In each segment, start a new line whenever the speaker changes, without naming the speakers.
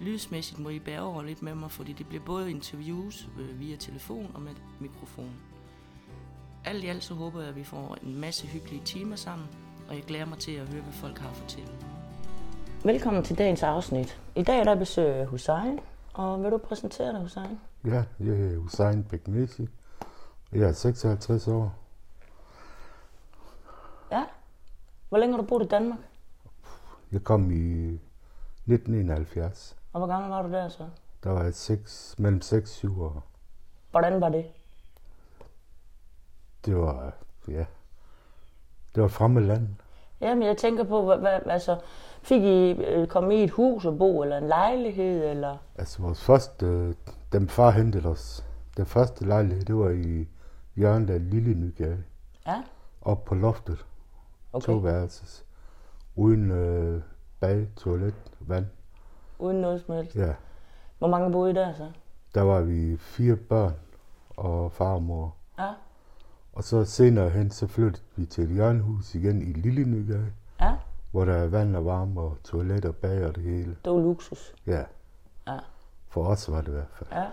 Lydsmæssigt må I bære over lidt med mig, fordi det bliver både interviews øh, via telefon og med mikrofon. Alt i alt så håber jeg, at vi får en masse hyggelige timer sammen, og jeg glæder mig til at høre, hvad folk har at fortælle. Velkommen til dagens afsnit. I dag der besøger jeg Hussein, og vil du præsentere dig, Hussein?
Ja, jeg hedder Hussein Beknesi. Jeg er 56 år.
Ja. Hvor længe har du boet i Danmark,
Jeg kom i 1971.
og hvor gammel var du der så?
Der var jeg 6, mellem 6 og 7 år.
Hvordan var det?
Det var, ja, det var et fremmed land.
Jamen, jeg tænker på, hvad, hvad, altså, fik I øh, komme i et hus og bo, eller en lejlighed, eller...
Altså vores første, øh, dem far hentede os. Den første lejlighed, det var i hjørnet af Lille Nygade.
Ja,
Op på loftet. Okay. To
okay.
værelses. Uden øh, bad, toilet, vand.
Uden noget som helst.
Ja,
Hvor mange boede I der så?
der var vi fire børn og far og mor.
Ja,
Og så senere hen, så flyttede vi til et hjørnehus igen i Lille Nygade,
ja.
hvor der er vand og varme og toilet og bag og det hele.
Det var luksus.
Ja,
Ja,
for os var det i hvert fald.
ja.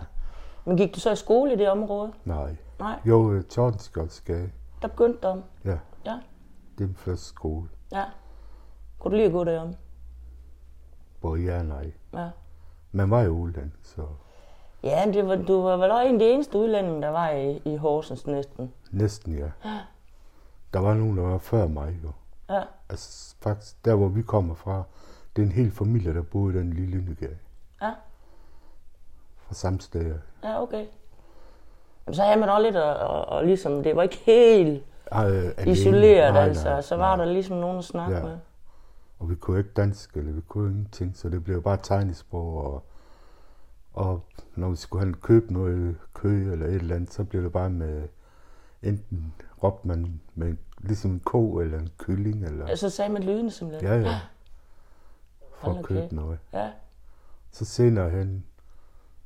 Men gik du så i skole i det område?
Nej.
Nej,
Jo, øh, Tordenskjoldsgade.
der begyndte du om.
Ja,
Ja,
det er den første skole.
ja. Kunne du lige gå derom?
Hvor jeg er nej.
Ja.
Man var i Uland, så
Ja, det var, du var vel også en af de eneste udlændinge, der var i, i Horsens næsten.
næsten ja. Der var nogen, der var før mig jo.
Ja,
Altså faktisk, der hvor vi kommer fra, det er en hel familie, der boede i den lille Nygade.
ja,
Fra samme sted. Ah, af.
ja, okay. Jamen, så havde man også lidt, og, og, og ligesom, det var ikke helt
Ej, øh, alene.
isoleret,
Nej, nej,
altså. Så var der ligesom nogen at snakke
Ja.
med.
Og vi kunne ikke dansk, eller vi kunne ingenting, så det blev bare tegnesprog. Og, og når vi skulle hen og købe noget kø eller et eller andet, så blev det bare med, enten råbte man med ligesom en ko eller en kylling, eller
Ja, Så sagde man lydende simpelthen.
ja, ja, for
Altså, Hold
at
da
købe
kæft.
noget.
ja.
Så senere hen,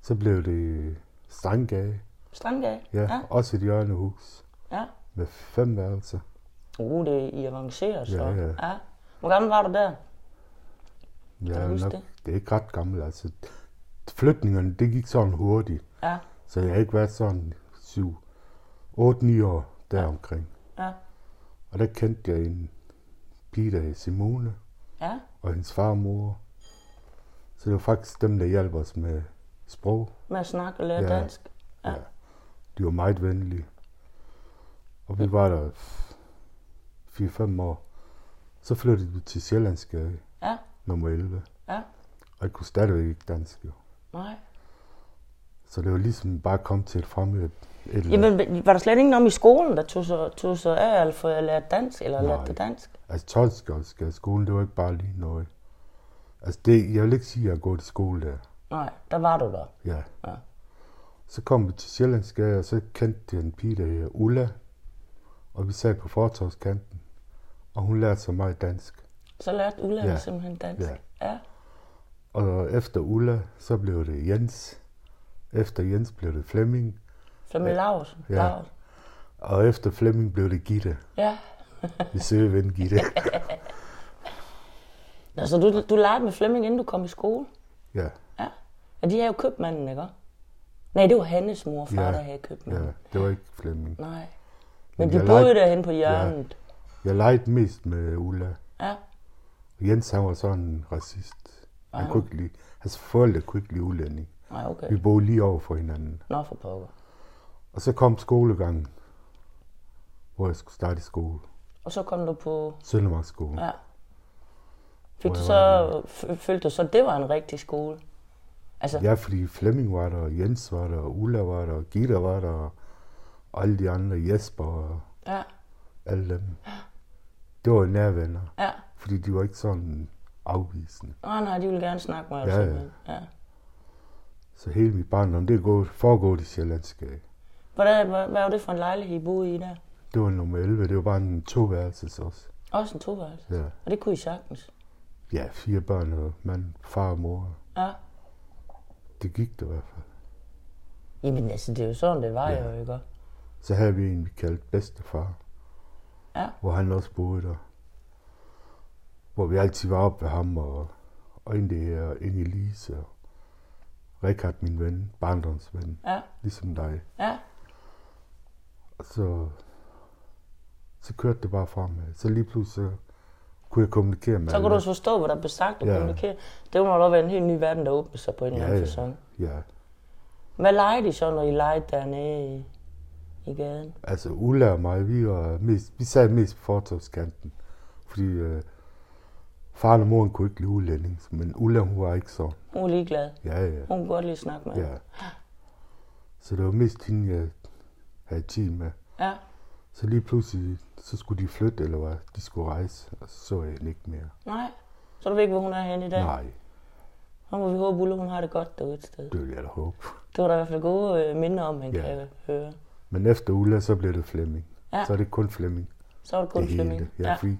så blev det Strandgade,
Strandgade.
ja,
ja.
også et hjørnehus
ja.
med fem værelser.
Uh, det er I avanceret, så.
Ja, ja.
ja. Hvor gammel var du der?
Ja,
du huske
nok,
det?
det er ikke ret gammelt, altså. Flytningerne, det gik sådan hurtigt.
Ja,
Så jeg har ikke været sådan 7, 8, 9 år deromkring.
ja,
Og der kendte jeg en pige, der hed Simone,
ja.
og hendes far og mor. Så det var faktisk dem, der hjalp os med sprog.
Med at snakke og lære
Ja.
dansk. Ja.
De var meget venlige. Og vi var der f- 4-5 år. Så flyttede vi til Sjællandsgade,
Ja,
nummer 11.
ja.
Og jeg kunne stadigvæk ikke dansk, jo.
Nej.
Så det var ligesom bare at komme til et fremmed et eller andet.
Jamen, var der slet ingen om i skolen, der tog sig, tog sig af at få lært dansk, eller
Nej.
lærte det dansk?
Altså tolvskjoldskade skolen, det var ikke bare lige noget. Altså det, jeg vil ikke sige, at jeg går til skole der.
Nej, der var du der.
Ja.
Ja.
Så kom vi til Sjællandsgade, og så kendte jeg en pige, der hedder Ulla. Og vi sad på fortovskanten, og hun lærte så meget dansk.
Så lærte udlandet
Ja.
simpelthen dansk.
Ja.
ja.
Og efter Ulla, så blev det Jens. Efter Jens blev det Flemming,
Flemming Lausen.
Ja.
Lausen.
og efter Flemming blev det Gitte.
ja.
Vi søger ven Gitte.
Nå, så du, du legede med Flemming, inden du kom i skole?
ja,
Ja. Og de havde jo købmanden, ikke? også? Nej, det var Hannes mor og far,
Ja.
der havde købmanden.
ja, det var ikke Flemming.
Nej. Men de
jeg
boede
legede-
derhen på hjørnet.
Jeg legede mest med Ulla.
Ja.
Jens, han var sådan en racist. Han kunne ikke lide, hans forældre kunne ikke lide udlænding.
Nej, okay.
Vi boede lige over for hinanden.
Nå, for pokker.
Og så kom skolegangen, hvor jeg skulle starte i skole.
Og så kom du på...
Søndermarksskole. Ja.
Ja. Fik
Hvor
du
jeg
så, f- følte du så, det var en rigtig skole? Altså, ja.
ja, fordi Flemming var der, og Jens var der, og Ulla var der, og Gitte var der, og alle de andre, Jesper og
ja,
alle dem. Det var jo nærvenner,
ja.
fordi de var ikke sådan afvisende.
Åh nej, de ville gerne snakke med dig.
Ja,
Ja,
ja.
ja. ja.
Så hele mit barndom, det er gået, foregået i Sjællandsgade.
Hvordan, hvad, hvad var det for en lejlighed, I boede i der?
Det var nummer 11, det var bare en toværelses også.
Også en toværelse.
Ja.
Og det kunne I sagtens.
ja, fire børn og mand, far og mor.
Ja.
Det gik det i hvert fald.
Jamen altså, det er jo sådan, det var
Ja.
ja. jo, ikke?
Så havde vi en, vi kaldte bedstefar,
Ja.
hvor han også boede der. Hvor vi altid var oppe ved ham og, og ind, her, og ind i Lise og Rikard, min ven, barndomsven,
Ja.
ligesom dig.
Ja.
Og så, så kørte det bare fremad. Så lige pludselig så kunne jeg kommunikere med
Så kunne
alle.
du også forstå, hvad der blev sagt og
Ja.
ja. kommunikere. Det må nok være en helt ny verden, der åbnede sig på en eller
Ja,
anden
ja.
facon.
Ja,
Hvad legede I så, når I legede dernede i, i gaden?
altså Ulla og mig, vi, var mest, vi sad mest på fortovskanten. Fordi øh, faren og moren kunne ikke lide udlændings, men Ulla hun var ikke sådan.
Hun var ligeglad.
Ja, ja,
Hun kunne godt lige snakke med.
ja. Så det var mest hende, jeg havde tid med.
ja.
Så lige pludselig, så skulle de flytte, eller hvad? De skulle rejse, og så så jeg hende ikke mere.
Nej. Så du ved ikke, hvor hun er henne i dag?
Nej,
Så må vi håbe, Ulla, hun har det godt derude et sted.
det ville jeg da håbe.
Det var der i hvert fald gode øh, minder om, man
Ja.
ja. kan høre.
Men efter Ulla, så blev det Flemming.
Ja.
Så er det kun Flemming.
Så var det kun
det
Flemming.
hele. Ja, ja. Fordi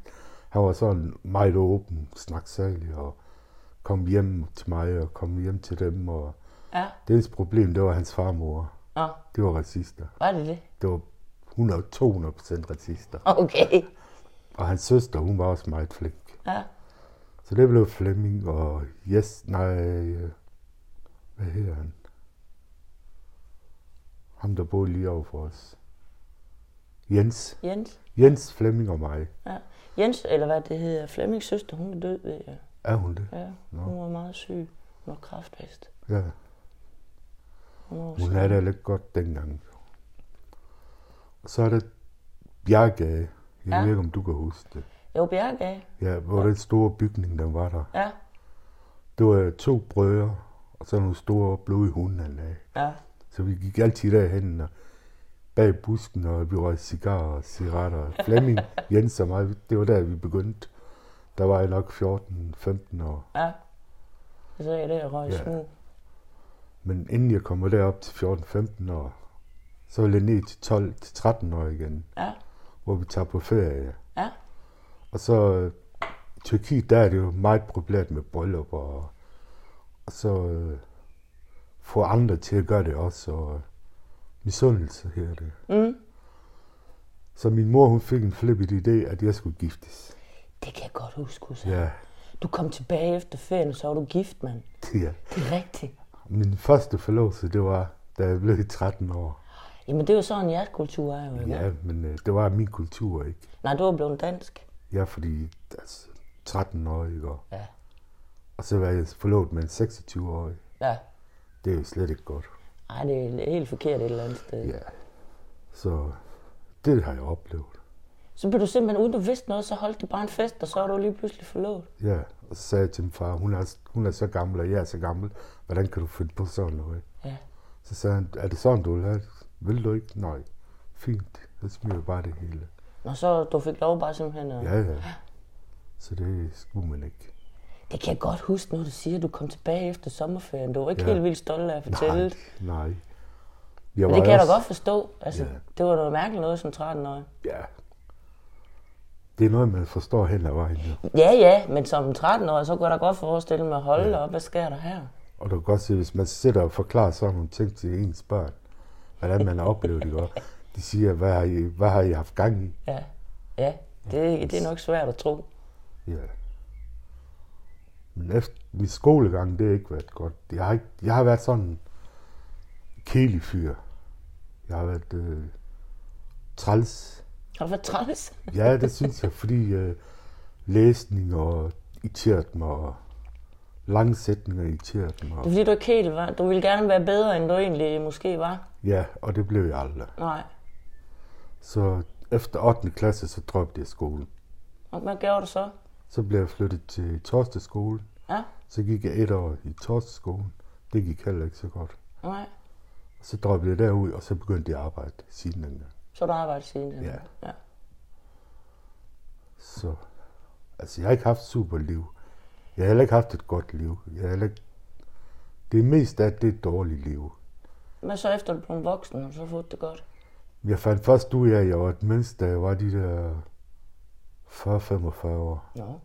han var sådan meget åben, snaksalig og kom hjem til mig og kom hjem til dem. Og
ja.
det eneste problem, det var hans farmor.
Nå,
Det var racister.
var det det?
Det var 100-200 procent racister.
Okay.
Og hans søster, hun var også meget flink.
Ja.
Så det blev Flemming og Jes... Nej, øh, hvad hedder han? Ham, der boede lige over for os. Jens.
Jens.
Jens, Flemming og mig.
Ja. Jens, eller hvad det hedder, Flemmings søster, hun er død, ved jeg.
Er hun det?
Ja,
Nå.
hun var meget syg. Hun var kræftpest.
Ja.
Hun var
Hun
syg.
havde det lidt godt dengang. Og så er der Bjerke. Jeg ja.
Ja.
ved ikke, om du kan huske det.
Jo, Bjergave.
Ja, hvor den store bygning, den var der.
Ja,
Det var to brødre, og så nogle store blodige hunde, han lagde.
ja.
Så vi gik altid derhen og bag busken, og vi røg cigarer og cigaretter. Flemming, Jens og mig, det var der, vi begyndte. Der var jeg nok 14-15 år.
Ja. Så er jeg der og røg
Ja.
ja. smug.
Men inden jeg kommer derop til 14-15 år, så vil jeg ned til 12-13 år igen,
Ja,
hvor vi tager på ferie.
ja,
Og så øh, i Tyrkiet, der er det jo meget populært med bryllup, og, og så øh, få andre til at gøre det også, og øh, misundelse her det.
Mm.
Så min mor, hun fik en flippet idé, at jeg skulle giftes.
det kan jeg godt huske, så.
Ja,
Du kom tilbage efter ferien, så var du gift, mand.
ja.
Det er rigtigt.
Min første forlovelse, det var, da jeg blev 13 år.
Jamen, det er jo sådan, jeres kultur er jo, ikke?
Ja, men øh, det var min kultur, ikke?
Nej, du er blevet dansk.
Ja, fordi altså, 13 år, ikke? Og-
Ja.
Og så var jeg forlovet med en 26-årig.
Ja.
Det er jo slet ikke godt.
Ej, det er helt forkert et eller andet sted.
Ja. Så det har jeg oplevet.
Så blev du simpelthen, uden du vidste noget, så holdt de bare en fest, og så var du lige pludselig forlovet.
Ja, og så sagde jeg til min far, hun er, hun er så gammel, og jeg er så gammel. Hvordan kan du finde på sådan noget?
Ja.
Så sagde han, er det sådan, du vil have det? Vil du ikke? Nej. Fint, så smider jeg bare det hele.
Og så du fik lov bare simpelthen at...
Ja, ja. Så det skulle man ikke.
Det kan jeg godt huske, når du siger, at du kom tilbage efter sommerferien. Du var ikke
Ja.
ja. helt vildt stolt af at fortælle
Nej,
det.
nej. Jeg
Men
var
det kan jeg da
også-
godt forstå. Altså,
Ja.
ja. det var noget mærkeligt noget som 13-årig.
Ja. Det er noget, man forstår hen ad vejen. jo.
Ja, ja, men som 13-årig, så kunne jeg da godt forestille mig, hold ja. op, hvad sker der her?
Og du kan godt se, hvis man sidder og forklarer sådan nogle ting til ens børn, hvordan man har oplevet det godt. De siger, hvad har I, hvad har I haft gang i?
Ja, ja, det, det er nok svært at tro.
Ja. Men efter min skolegang, det har ikke været godt. Jeg har, ikke, jeg har været sådan en kelig fyr. Jeg har været øh, træls.
Har du været træls?
Ja, det synes jeg, fordi øh, læsning og irriteret mig, og lange sætninger irriteret mig.
Det er fordi, du ikke helt var. Du ville gerne være bedre, end du egentlig måske var.
Ja, og det blev jeg aldrig.
Nej.
Så efter 8. klasse, så droppede jeg skolen.
Og hvad gjorde du så?
Så blev jeg flyttet til Torsteskolen.
Ja,
Så gik jeg et år i Torsteskolen. Det gik heller ikke så godt.
nej.
Så droppede jeg derud, og så begyndte jeg at arbejde siden dengang.
Så har du arbejdet siden. det.
Ja.
ja.
Så altså, jeg har ikke haft et super liv. Jeg har heller ikke haft et godt liv. Jeg har heller ikke... Det meste af det er et dårligt liv.
Men så efter du blev voksen, og så fået det godt.
Jeg fandt først ud af, at jeg var et menneske, da jeg var de der 40-45 år.
Nå,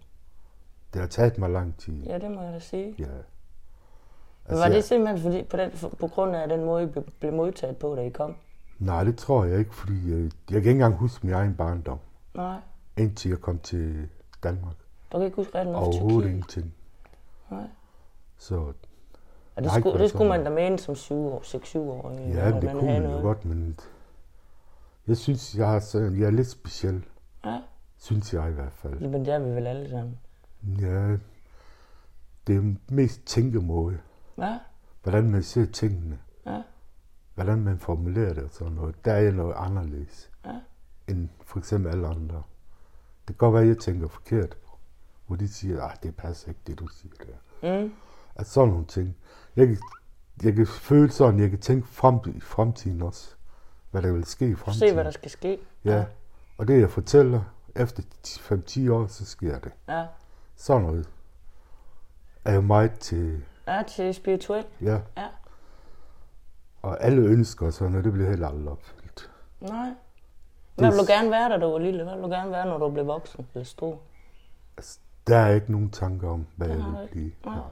Det har taget mig lang tid.
ja, det må jeg da sige.
Ja.
Men var
Altså, jeg-
det simpelthen fordi, på, den, på grund af den måde, I blev, blev modtaget på, da I kom?
Nej, det tror jeg ikke, fordi øh, jeg kan ikke engang huske min egen barndom,
Nej,
indtil jeg kom til Danmark.
du kan ikke huske rigtig noget fra
Overhovedet
Tyrkiet.
ingenting.
Nej.
Så
Og det,
Nej,
skulle,
ikke
det skulle man
sådan.
da mene som 7 år, 6-7 år. øh,
ja, det kunne man jo godt, men jeg synes, jeg er, sådan, jeg er lidt speciel.
Ja,
Synes jeg i hvert fald.
men det er vi vel alle sammen.
Ja, det er mest tænkemåde.
Ja,
Hvordan man ser tingene.
ja,
Hvordan man formulerer det og sådan noget. Der er jeg noget anderledes
ja.
end for eksempel alle andre. Det kan godt være, at jeg tænker forkert. Hvor de siger, at det passer ikke, det du siger der.
Mm.
Altså sådan nogle ting. Jeg kan, jeg kan føle sådan, jeg kan tænke frem i fremtiden også. Hvad der vil ske i fremtiden.
Se, hvad der skal ske.
Ja, og det jeg fortæller, efter 5-10 år, så sker det.
Ja,
Sådan noget. Er jo meget til,
ja til spirituel.
ja.
Ja.
Og alle ønsker og sådan noget, det bliver heller aldrig opfyldt.
Nej.
Det
Hvad
er
vil du
s-
gerne være, da du var lille? Hvad vil du gerne være, når du blev voksen eller stor?
Altså, der er ikke nogen tanker om, hvad
Det
jeg
har du
vil
ikke.
blive.
Nej.
Nej.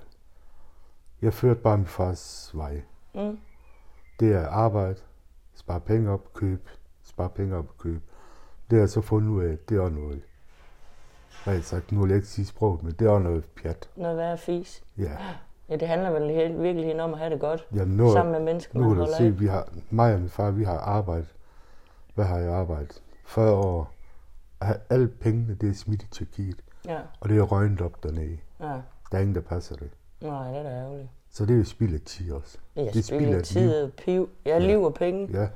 Jeg førte bare min fars vej.
Mm.
Det er arbejde, spare penge op, køb, spare penge op, køb. Det har jeg så fundet ud af, det er noget. Hvad jeg sagt, nu vil jeg ikke sige sproget, men det er noget pjat.
Noget værre fis.
Ja.
Ja, det handler vel helt, virkelig om at have det godt.
Jamen, nu,
Sammen med mennesker,
Nu
man
kan du
holder
se,
af.
vi har, mig og min far, vi har arbejdet. Hvad har jeg arbejdet? 40 år. Og ha- Alle pengene, det er smidt i Tyrkiet.
Ja,
Og det er røgnet op dernede.
ja.
Der er ingen, der passer det.
Nej, det er da ærgerligt.
Så det er jo spild af tid også.
Jeg
det
spiller
et liv.
tid og piv. Jeg ja. liv og penge.
Ja.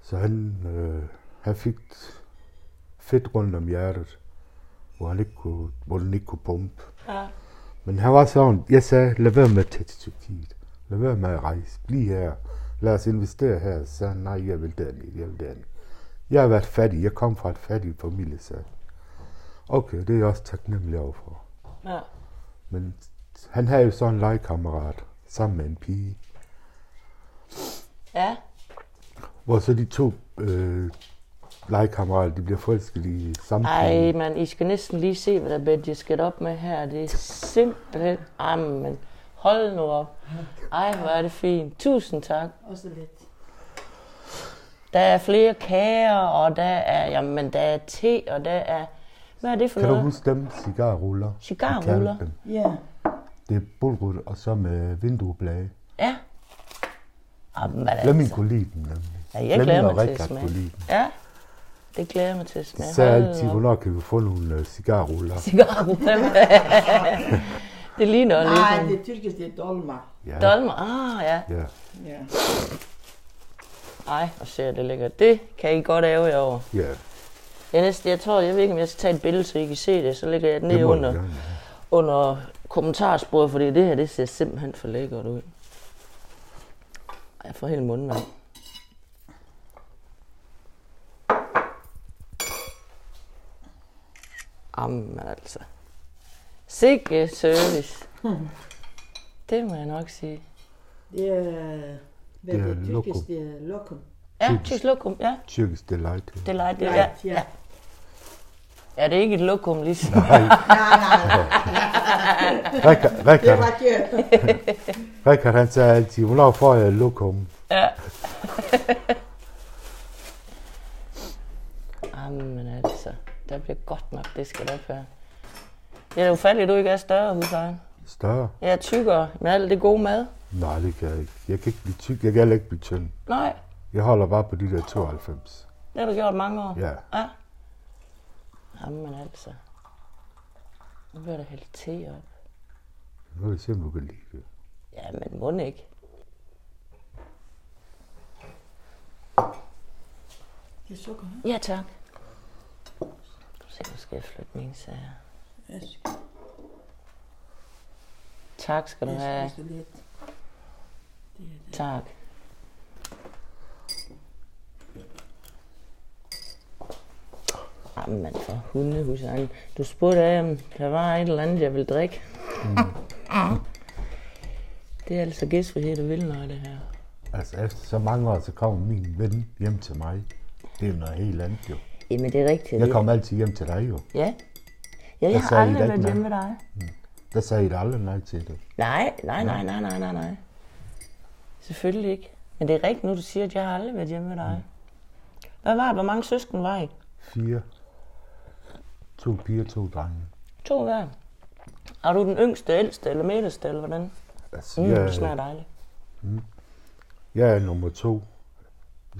Så han, øh, han fik fedt rundt om hjertet, hvor, han ikke kunne, hvor den ikke kunne pumpe.
Ja.
Men han var sådan, jeg sagde, lad være med at tage til Tyrkiet. Lad være med at rejse. Bliv her. Lad os investere her. Så sagde han, nej, jeg vil derned, jeg vil derned. Jeg har været fattig. Jeg kom fra et fattigt familie, sagde han. Okay, det er jeg også taknemmelig overfor.
ja.
Men han havde jo sådan en legekammerat sammen med en pige,
Ja,
hvor så de to øh, legekammerater, de bliver forelsket i samtidig.
ej, man, I skal næsten lige se, hvad der bliver disket op med her. Det er simpelthen, amen, hold nu op. Ej, hvor er det fint. Tusind tak.
Og så lidt.
Der er flere kager, og der er, jamen, der er te, og der er, hvad er det for
Kan du
noget?
huske dem? Cigarruller. de kaldte
Cigarruller?
dem.
Ja.
Det er bulrut, og så med vindueblade.
Ja. Jamen, hvad er
Flemming
det?
kunne lide den nemlig.
altså. Ja, jeg glæder mig
og
til at
Richard
smage.
kunne lide den.
Ja, det glæder jeg mig til at
De
smage.
sagde
Hold
altid,
op.
hvornår kan vi få nogle øh, cigarruller?
Cigarruller. det ligner lidt.
Nej,
en
det tyrkisk, det er dolma.
Ja,
Dolmer, ah ja.
ja.
Ja.
Ej, hvor ser det lækkert. Det kan I godt æve jer over.
ja.
Jeg, næsten, jeg tror, jeg ved ikke, om jeg skal tage et billede, så I kan se det. Så lægger jeg det
Det
ned
må
under,
du gerne have.
under kommentarsporet, fordi det her, det ser simpelthen for lækkert ud. Ej, Jeg får helt mundvand. Jamen altså. Sikke service. Det må jeg nok sige.
Det er... Hvad
Det
det
er
er tyrkisk,
lokum.
det er lokum.
Ja,
Typisk.
tysk lokum, ja.
Tyrkisk delight.
Det er lejt, det er.
Light,
Ja.
ja.
ja, det er ikke et lokum ligesom.
Nej, nej, nej.
Richard,
Det
Richard,
var ikke...
Richard, han sagde altid, hvornår får jeg lokum?
Ja. Jamen altså, der bliver godt nok det skal op her. Jeg er ufattelig, at du ikke er større, huslejen.
Større?
Jeg er tykkere med alt det gode mad.
Nej, det kan jeg ikke. Jeg kan ikke blive tyk. Jeg kan heller ikke blive tynd.
Nej,
Jeg holder bare på de der 92.
det har du gjort mange år.
Ja,
ja. Jamen altså. Nu bliver der hældt te op.
nu vil jeg se, om du kan lide det.
Ja, men må den ikke.
Det er sukker, hva'?
Ja, tak. Nu skal jeg- nu skal jeg flytte mine sager.
Ja, så
Tak skal du
det er
have.
så lidt. Det er det.
Tak. Jamen for hundehusen. Du spurgte af, om der var et eller andet, jeg ville drikke. Mm. det er altså gæstfrihed og vildnøj, det her.
Altså efter så mange år, så kommer min ven hjem til mig. Det er jo noget helt andet jo.
Jamen, det er rigtigt.
Jeg kommer altid hjem til dig jo.
Ja. Ja, jeg
Jeg
har
sagde, I
aldrig
da
været
ikke
hjemme med
nej.
dig.
Der sagde I da aldrig nej til det.
Nej, nej, nej, nej, nej, nej, nej. Selvfølgelig ikke. Men det er rigtigt nu, du siger, at jeg har aldrig været hjemme med dig. Hvad var det? Hvor mange søsken var I?
Fire. To piger, to drenge.
To hver. Er du den yngste, ældste eller midterste, eller hvordan?
Altså,
Mm, yeah. Det smager
jeg,
dejligt.
jeg er nummer to.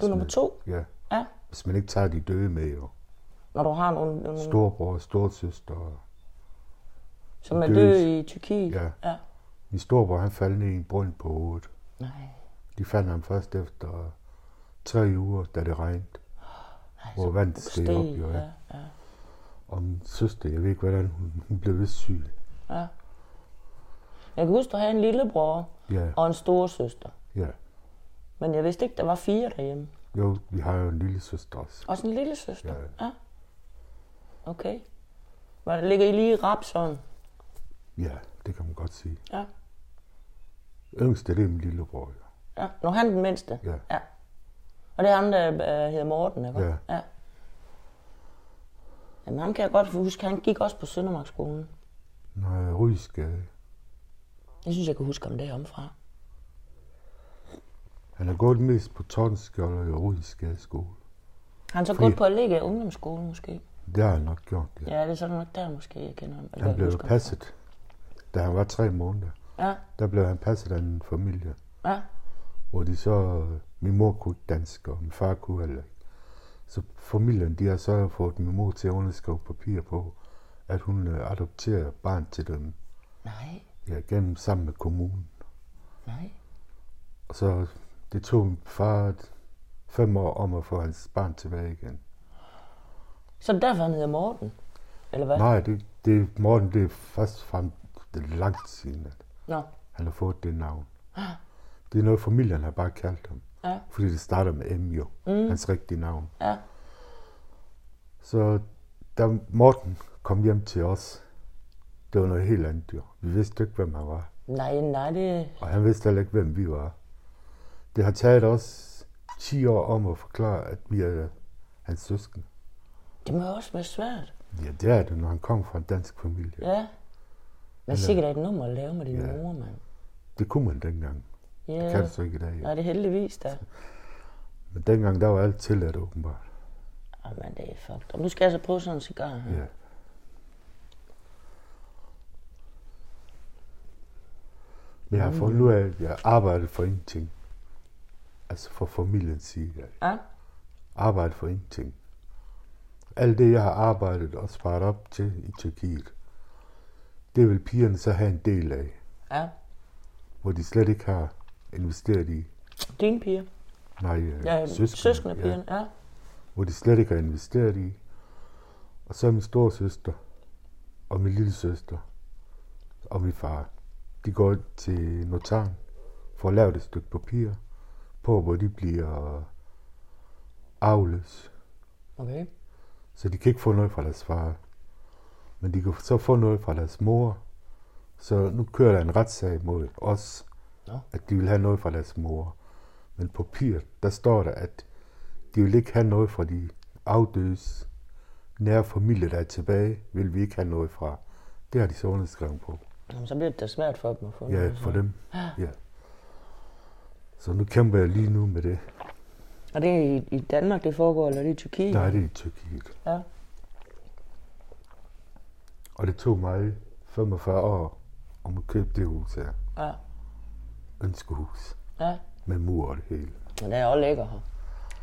Du er nummer to,
Ja.
Ja. Mm.
Hvis man ikke tager de døde med jo.
når du har nogle, nogle
Storbror, storsøster. og-
som er
døs.
døde i Tyrkiet.
Ja.
ja.
Min storbror, han faldt ned i en brønd på hovedet.
Nej.
De fandt ham først efter tre uger, da det regnede. Hvor vandet steg
Steg,
op, jo. Ja.
ja, ja.
Og min søster, jeg ved ikke, hvordan hun, hun blev vist syg.
Jeg kan huske, du havde en lillebror
Ja,
og en storesøster.
ja.
Men jeg vidste ikke, der var fire derhjemme.
Jo, vi har jo en lille søster også.
Også en lille søster?
Ja.
ja. Okay. Hvor ligger I lige i Rapsholm?
Ja, det kan man godt sige.
Ja.
Yngste, det er min lillebror, jo.
ja. Nå, han er den mindste?
Ja.
ja. Og det er ham, der øh, hedder Morten, ikke?
Ja.
ja. Jamen, ham kan jeg godt huske. Han gik også på Søndermarksskolen.
Nej, Rysgade.
Jeg synes, jeg kan huske ham deromfra.
Han har gået mest på Tordenskjold og Rysgade skole.
Har han så
Fordi-
gået på Allega Ungdomsskole, måske?
Det har han nok gjort, ja.
Ja, det er sådan nok der, måske, jeg kender ham. Eller
Han
jeg
blev jo
husker ham.
passet, da han var tre måneder.
Ja,
Der blev han passet af en familie,
ja.
hvor de så... øh, Min mor kunne ikke dansk, og min far kunne heller ikke. Så familien, de har så fået min mor til at underskrive papir på, at hun øh, adopterer barn til dem.
Nej,
Ja, gennem sammen med kommunen.
nej.
Og så det tog min far et- fem år om at få hans barn tilbage igen.
Så er det derfor, han hedder Morten? Eller hvad?
Nej, det, det, Morten, det er først frem det er langt siden, at
Nå.
han har fået det navn. Det er noget, familien har bare kaldt ham.
Ja.
Fordi det starter med M jo, mm. hans rigtige navn.
Ja.
Så da Morten kom hjem til os, det var noget helt andet jo. Vi vidste ikke, hvem han var.
Nej, nej, det...
Og han vidste heller ikke, hvem vi var. Det har taget os 10 år om at forklare, at vi er hans søskende.
Det må jo også være svært.
Ja, det er det, når han kommer fra en dansk familie. Ja.
Ja. Men sikkert er et nummer at lave med din
Ja.
mor, mand.
Det kunne man dengang.
Ja.
Det kan det så ikke i dag.
Nej,
Ja.
det er heldigvis da.
Men dengang, der var alt tilladt åbenbart.
Jamen, det er fucked. Og nu skal jeg så prøve sådan en cigar her.
Ja. Men jeg har fundet ud af, at jeg arbejder for ingenting. Altså for familien siger jeg.
Ja.
Arbejde for ingenting. Alt det, jeg har arbejdet og sparet op til i Tyrkiet, det vil pigerne så have en del af,
Ja.
hvor de slet ikke har investeret i.
Dine piger.
Nej, øh,
Ja,
søskende,
søskende pigerne. Ja.
hvor de slet ikke har investeret i. Og så min storsøster og min lille søster og min far, de går til notaren for at lave et stykke papir på, hvor de bliver arveløse.
Okay.
Så de kan ikke få noget fra deres far. Men de kan så få noget fra deres mor. Så nu kører der en retssag mod os,
Nå.
at de vil have noget fra deres mor. Men på papir, der står der, at de vil ikke have noget fra de afdødes nære familie, der er tilbage, vil vi ikke have noget fra. Det har de så underskrevet på.
Jamen, så bliver det da svært for dem at få
Ja,
noget,
for
så.
dem. Ja. Så nu kæmper jeg lige nu med det.
Og det er i, i Danmark, det foregår, eller er det i Tyrkiet?
Nej, det er i Tyrkiet.
Ja.
Og det tog mig 45 år om at købe det hus her.
Ja.
Ønskehus.
Ja.
Med mur og det hele.
Men det er også lækker her.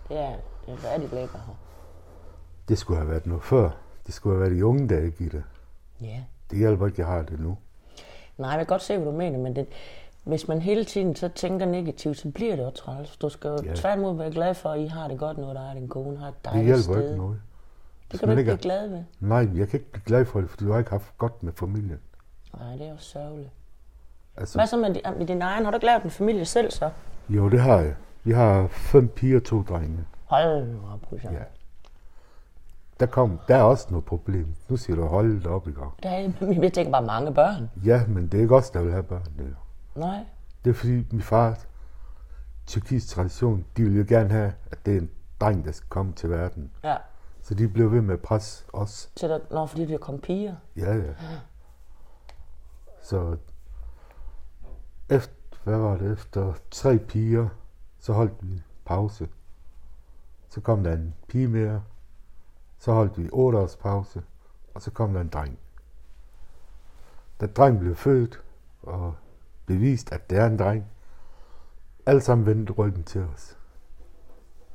Det er, det er rigtig lækker her.
Det skulle have været noget før. Det skulle have været i unge dage, Gitte.
Ja.
Det hjælper ikke, jeg har det nu.
Nej, jeg kan godt se, hvad du mener, men det, hvis man hele tiden så tænker negativt, så bliver det jo træls. Du skal jo
Ja.
tværtimod være glad for, at I har det godt nu, og dig og din kone har et
Det
dejligt
hjælper
sted.
ikke noget.
Det
Hvis
kan du
man
ikke
ikke
blive
er-
glad ved.
Nej, jeg kan ikke blive glad for det, for du har ikke haft godt med familien.
Nej, det er jo sørgeligt.
Altså,
Hvad så med, di- med din egen? Har du ikke lavet en familie selv så?
jo, det har jeg. Vi har fem piger og to drenge.
Hold nu op, Christian.
Ja. Der, kom, der er også noget problem. Nu siger du, hold da op i gang.
Der er, jeg tænker bare mange børn.
Ja, men det er ikke os, der vil have børn. Det, er-
Nej.
det er fordi, min far, tyrkisk tradition, de vil jo gerne have, at det er en dreng, der skal komme til verden.
Ja.
Så de blev ved med at presse os.
Så der, når fordi der kom piger.
Ja, ja. Så efter, hvad var det, efter tre piger, så holdt vi pause. Så kom der en pige mere, så holdt vi otte års pause, og så kom der en dreng. Da drengen blev født og bevist, at det er en dreng, alle sammen vendte ryggen til os.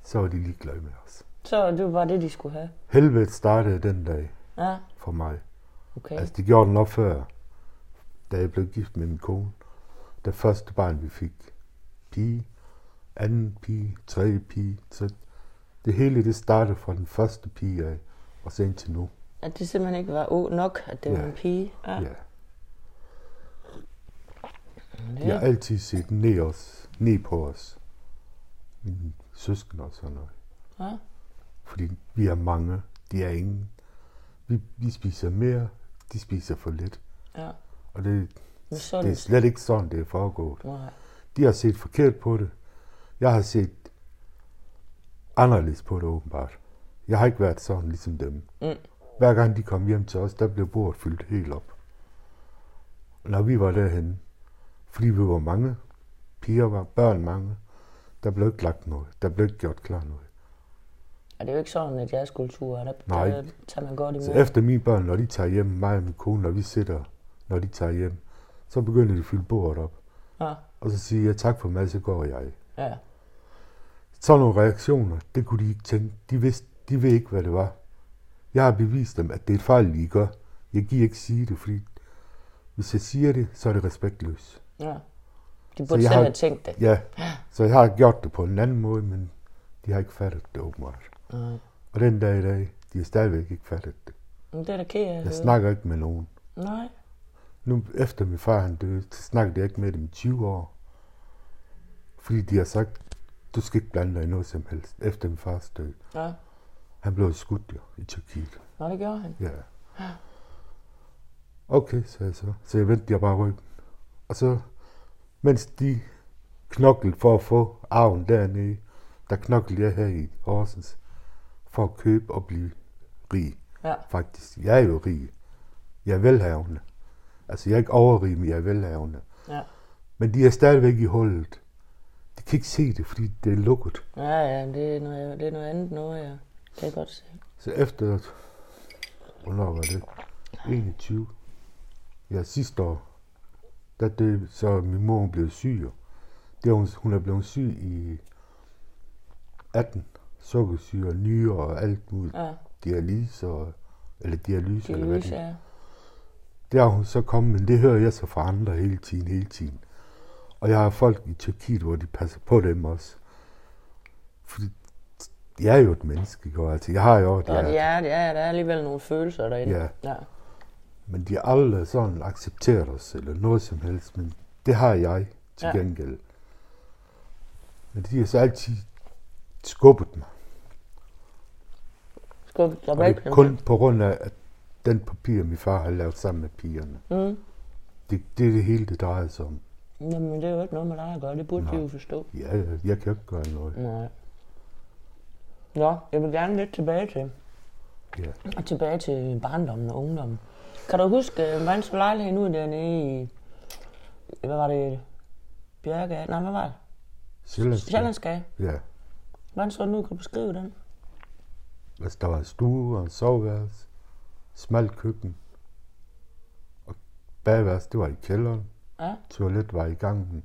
Så var de ligeglade med os.
Så det var bare det, de skulle have.
Helvede startede den dag
Ja,
for mig.
okay.
Altså, det gjorde den nok før, da jeg blev gift med min kone. Det første barn, vi fik. Pige, anden pige, tredje pige. Så det hele, det startede fra den første pige af, og så indtil nu.
At det simpelthen ikke var oh, nok, at det var
Ja.
en pige. Ja.
Ja.
det-
Jeg har altid set ned, os, ned på os. Mine søskende og sådan noget.
Ja.
Fordi vi er mange, de er ingen. Vi, vi spiser mere, de spiser for lidt.
ja.
Og det,
Men
det er
sådan.
slet ikke sådan, det er foregået.
Nej.
De har set forkert på det. Jeg har set anderledes på det åbenbart. Jeg har ikke været sådan ligesom dem.
Mm.
Hver gang de kom hjem til os, der blev bordet fyldt helt op. Når vi var derhen, fordi vi var mange, piger var børn mange, der blev ikke lagt noget, der blev ikke gjort klar noget.
Og det er jo ikke sådan, at jeres kultur er. Der,
Nej.
der tager man godt
Så
imod.
efter mine børn, når de tager hjem, mig og min kone, når vi sidder, når de tager hjem, så begynder de at fylde bordet op.
Ja.
Og så siger jeg, tak for mad, så går jeg.
ja.
Sådan nogle reaktioner, det kunne de ikke tænke. De, vidste, de ved ikke, hvad det var. Jeg har bevist dem, at det er et fejl, I gør. Jeg giver ikke sige det, fordi hvis jeg siger det, så er det respektløst.
ja. De
jeg
burde selv
har-
have tænkt det.
Ja, så jeg har gjort det på en anden måde, men de har ikke fattet det åbenbart.
Nej.
Og den dag i dag, de har stadigvæk ikke fattet det.
Men det er da ked af at
Jeg
høre.
snakker ikke med nogen.
Nej.
Nu efter min far han døde, så snakkede jeg ikke med dem i 20 år. Fordi de har sagt, du skal ikke blande dig i noget som helst, efter min fars død.
Ja.
Han blev skudt jo, i Tyrkiet.
Nå, det gjorde han.
Ja. Okay, sagde jeg så. Så jeg vendte jeg bare ryggen. Og så, mens de knoklede for at få arven dernede, der knoklede jeg her i Horsens for at købe og blive rig.
Ja.
Faktisk, jeg er jo rig. Jeg er velhavende. Altså, jeg er ikke overrig, men jeg er velhavende.
Ja.
Men de er stadigvæk i hullet. De kan ikke se det, fordi det er lukket.
Ja, ja, det er noget, det er noget andet noget, ja. Det kan jeg godt se.
Så efter, hvornår var det? 21. Ja, sidste år, der døde, så min mor hun blev syg. jo. Det er hun, hun er blevet syg i 18. Sukkersyge og nyre og alt muligt.
Ja,
Dialyse og, eller dialyse,
de
eller hvad det
lyse er.
der er hun så kommet, men det hører jeg så fra andre hele tiden, hele tiden. Og jeg har folk i Tyrkiet, hvor de passer på dem også. Fordi jeg er jo et menneske, jo. Altså, jeg har jo et
Ja,
hjerte.
det er, det er, der er alligevel nogle følelser derinde.
Ja.
ja.
Men de har aldrig sådan accepteret os, eller noget som helst, men det har jeg til
Ja.
gengæld. Men de har så altid skubbet mig.
Skub, der
Og
var
det er
ikke
kun på grund af, at den papir, min far har lavet sammen med pigerne,
Mm.
det, det er det hele, det drejer sig om.
Jamen, det er jo ikke noget med dig at gøre. Det burde
Nej.
de jo forstå.
Ja, ja, jeg kan jo ikke gøre noget.
Nej. Nå, jeg vil gerne lidt tilbage til.
Ja.
Og tilbage til barndommen og ungdommen. Kan du huske, øh, hvordan så lejlighed nu dernede i... Hvad var det? Bjergade? Nej, hvad var det?
Sjællandsk.
Sjællandsgade.
Ja.
Hvordan så den ud? Kan du beskrive den?
Altså, der var en stue og en soveværelse, smalt køkken, og bagværelse, det var i kælderen,
Ja.
toilet var i gangen,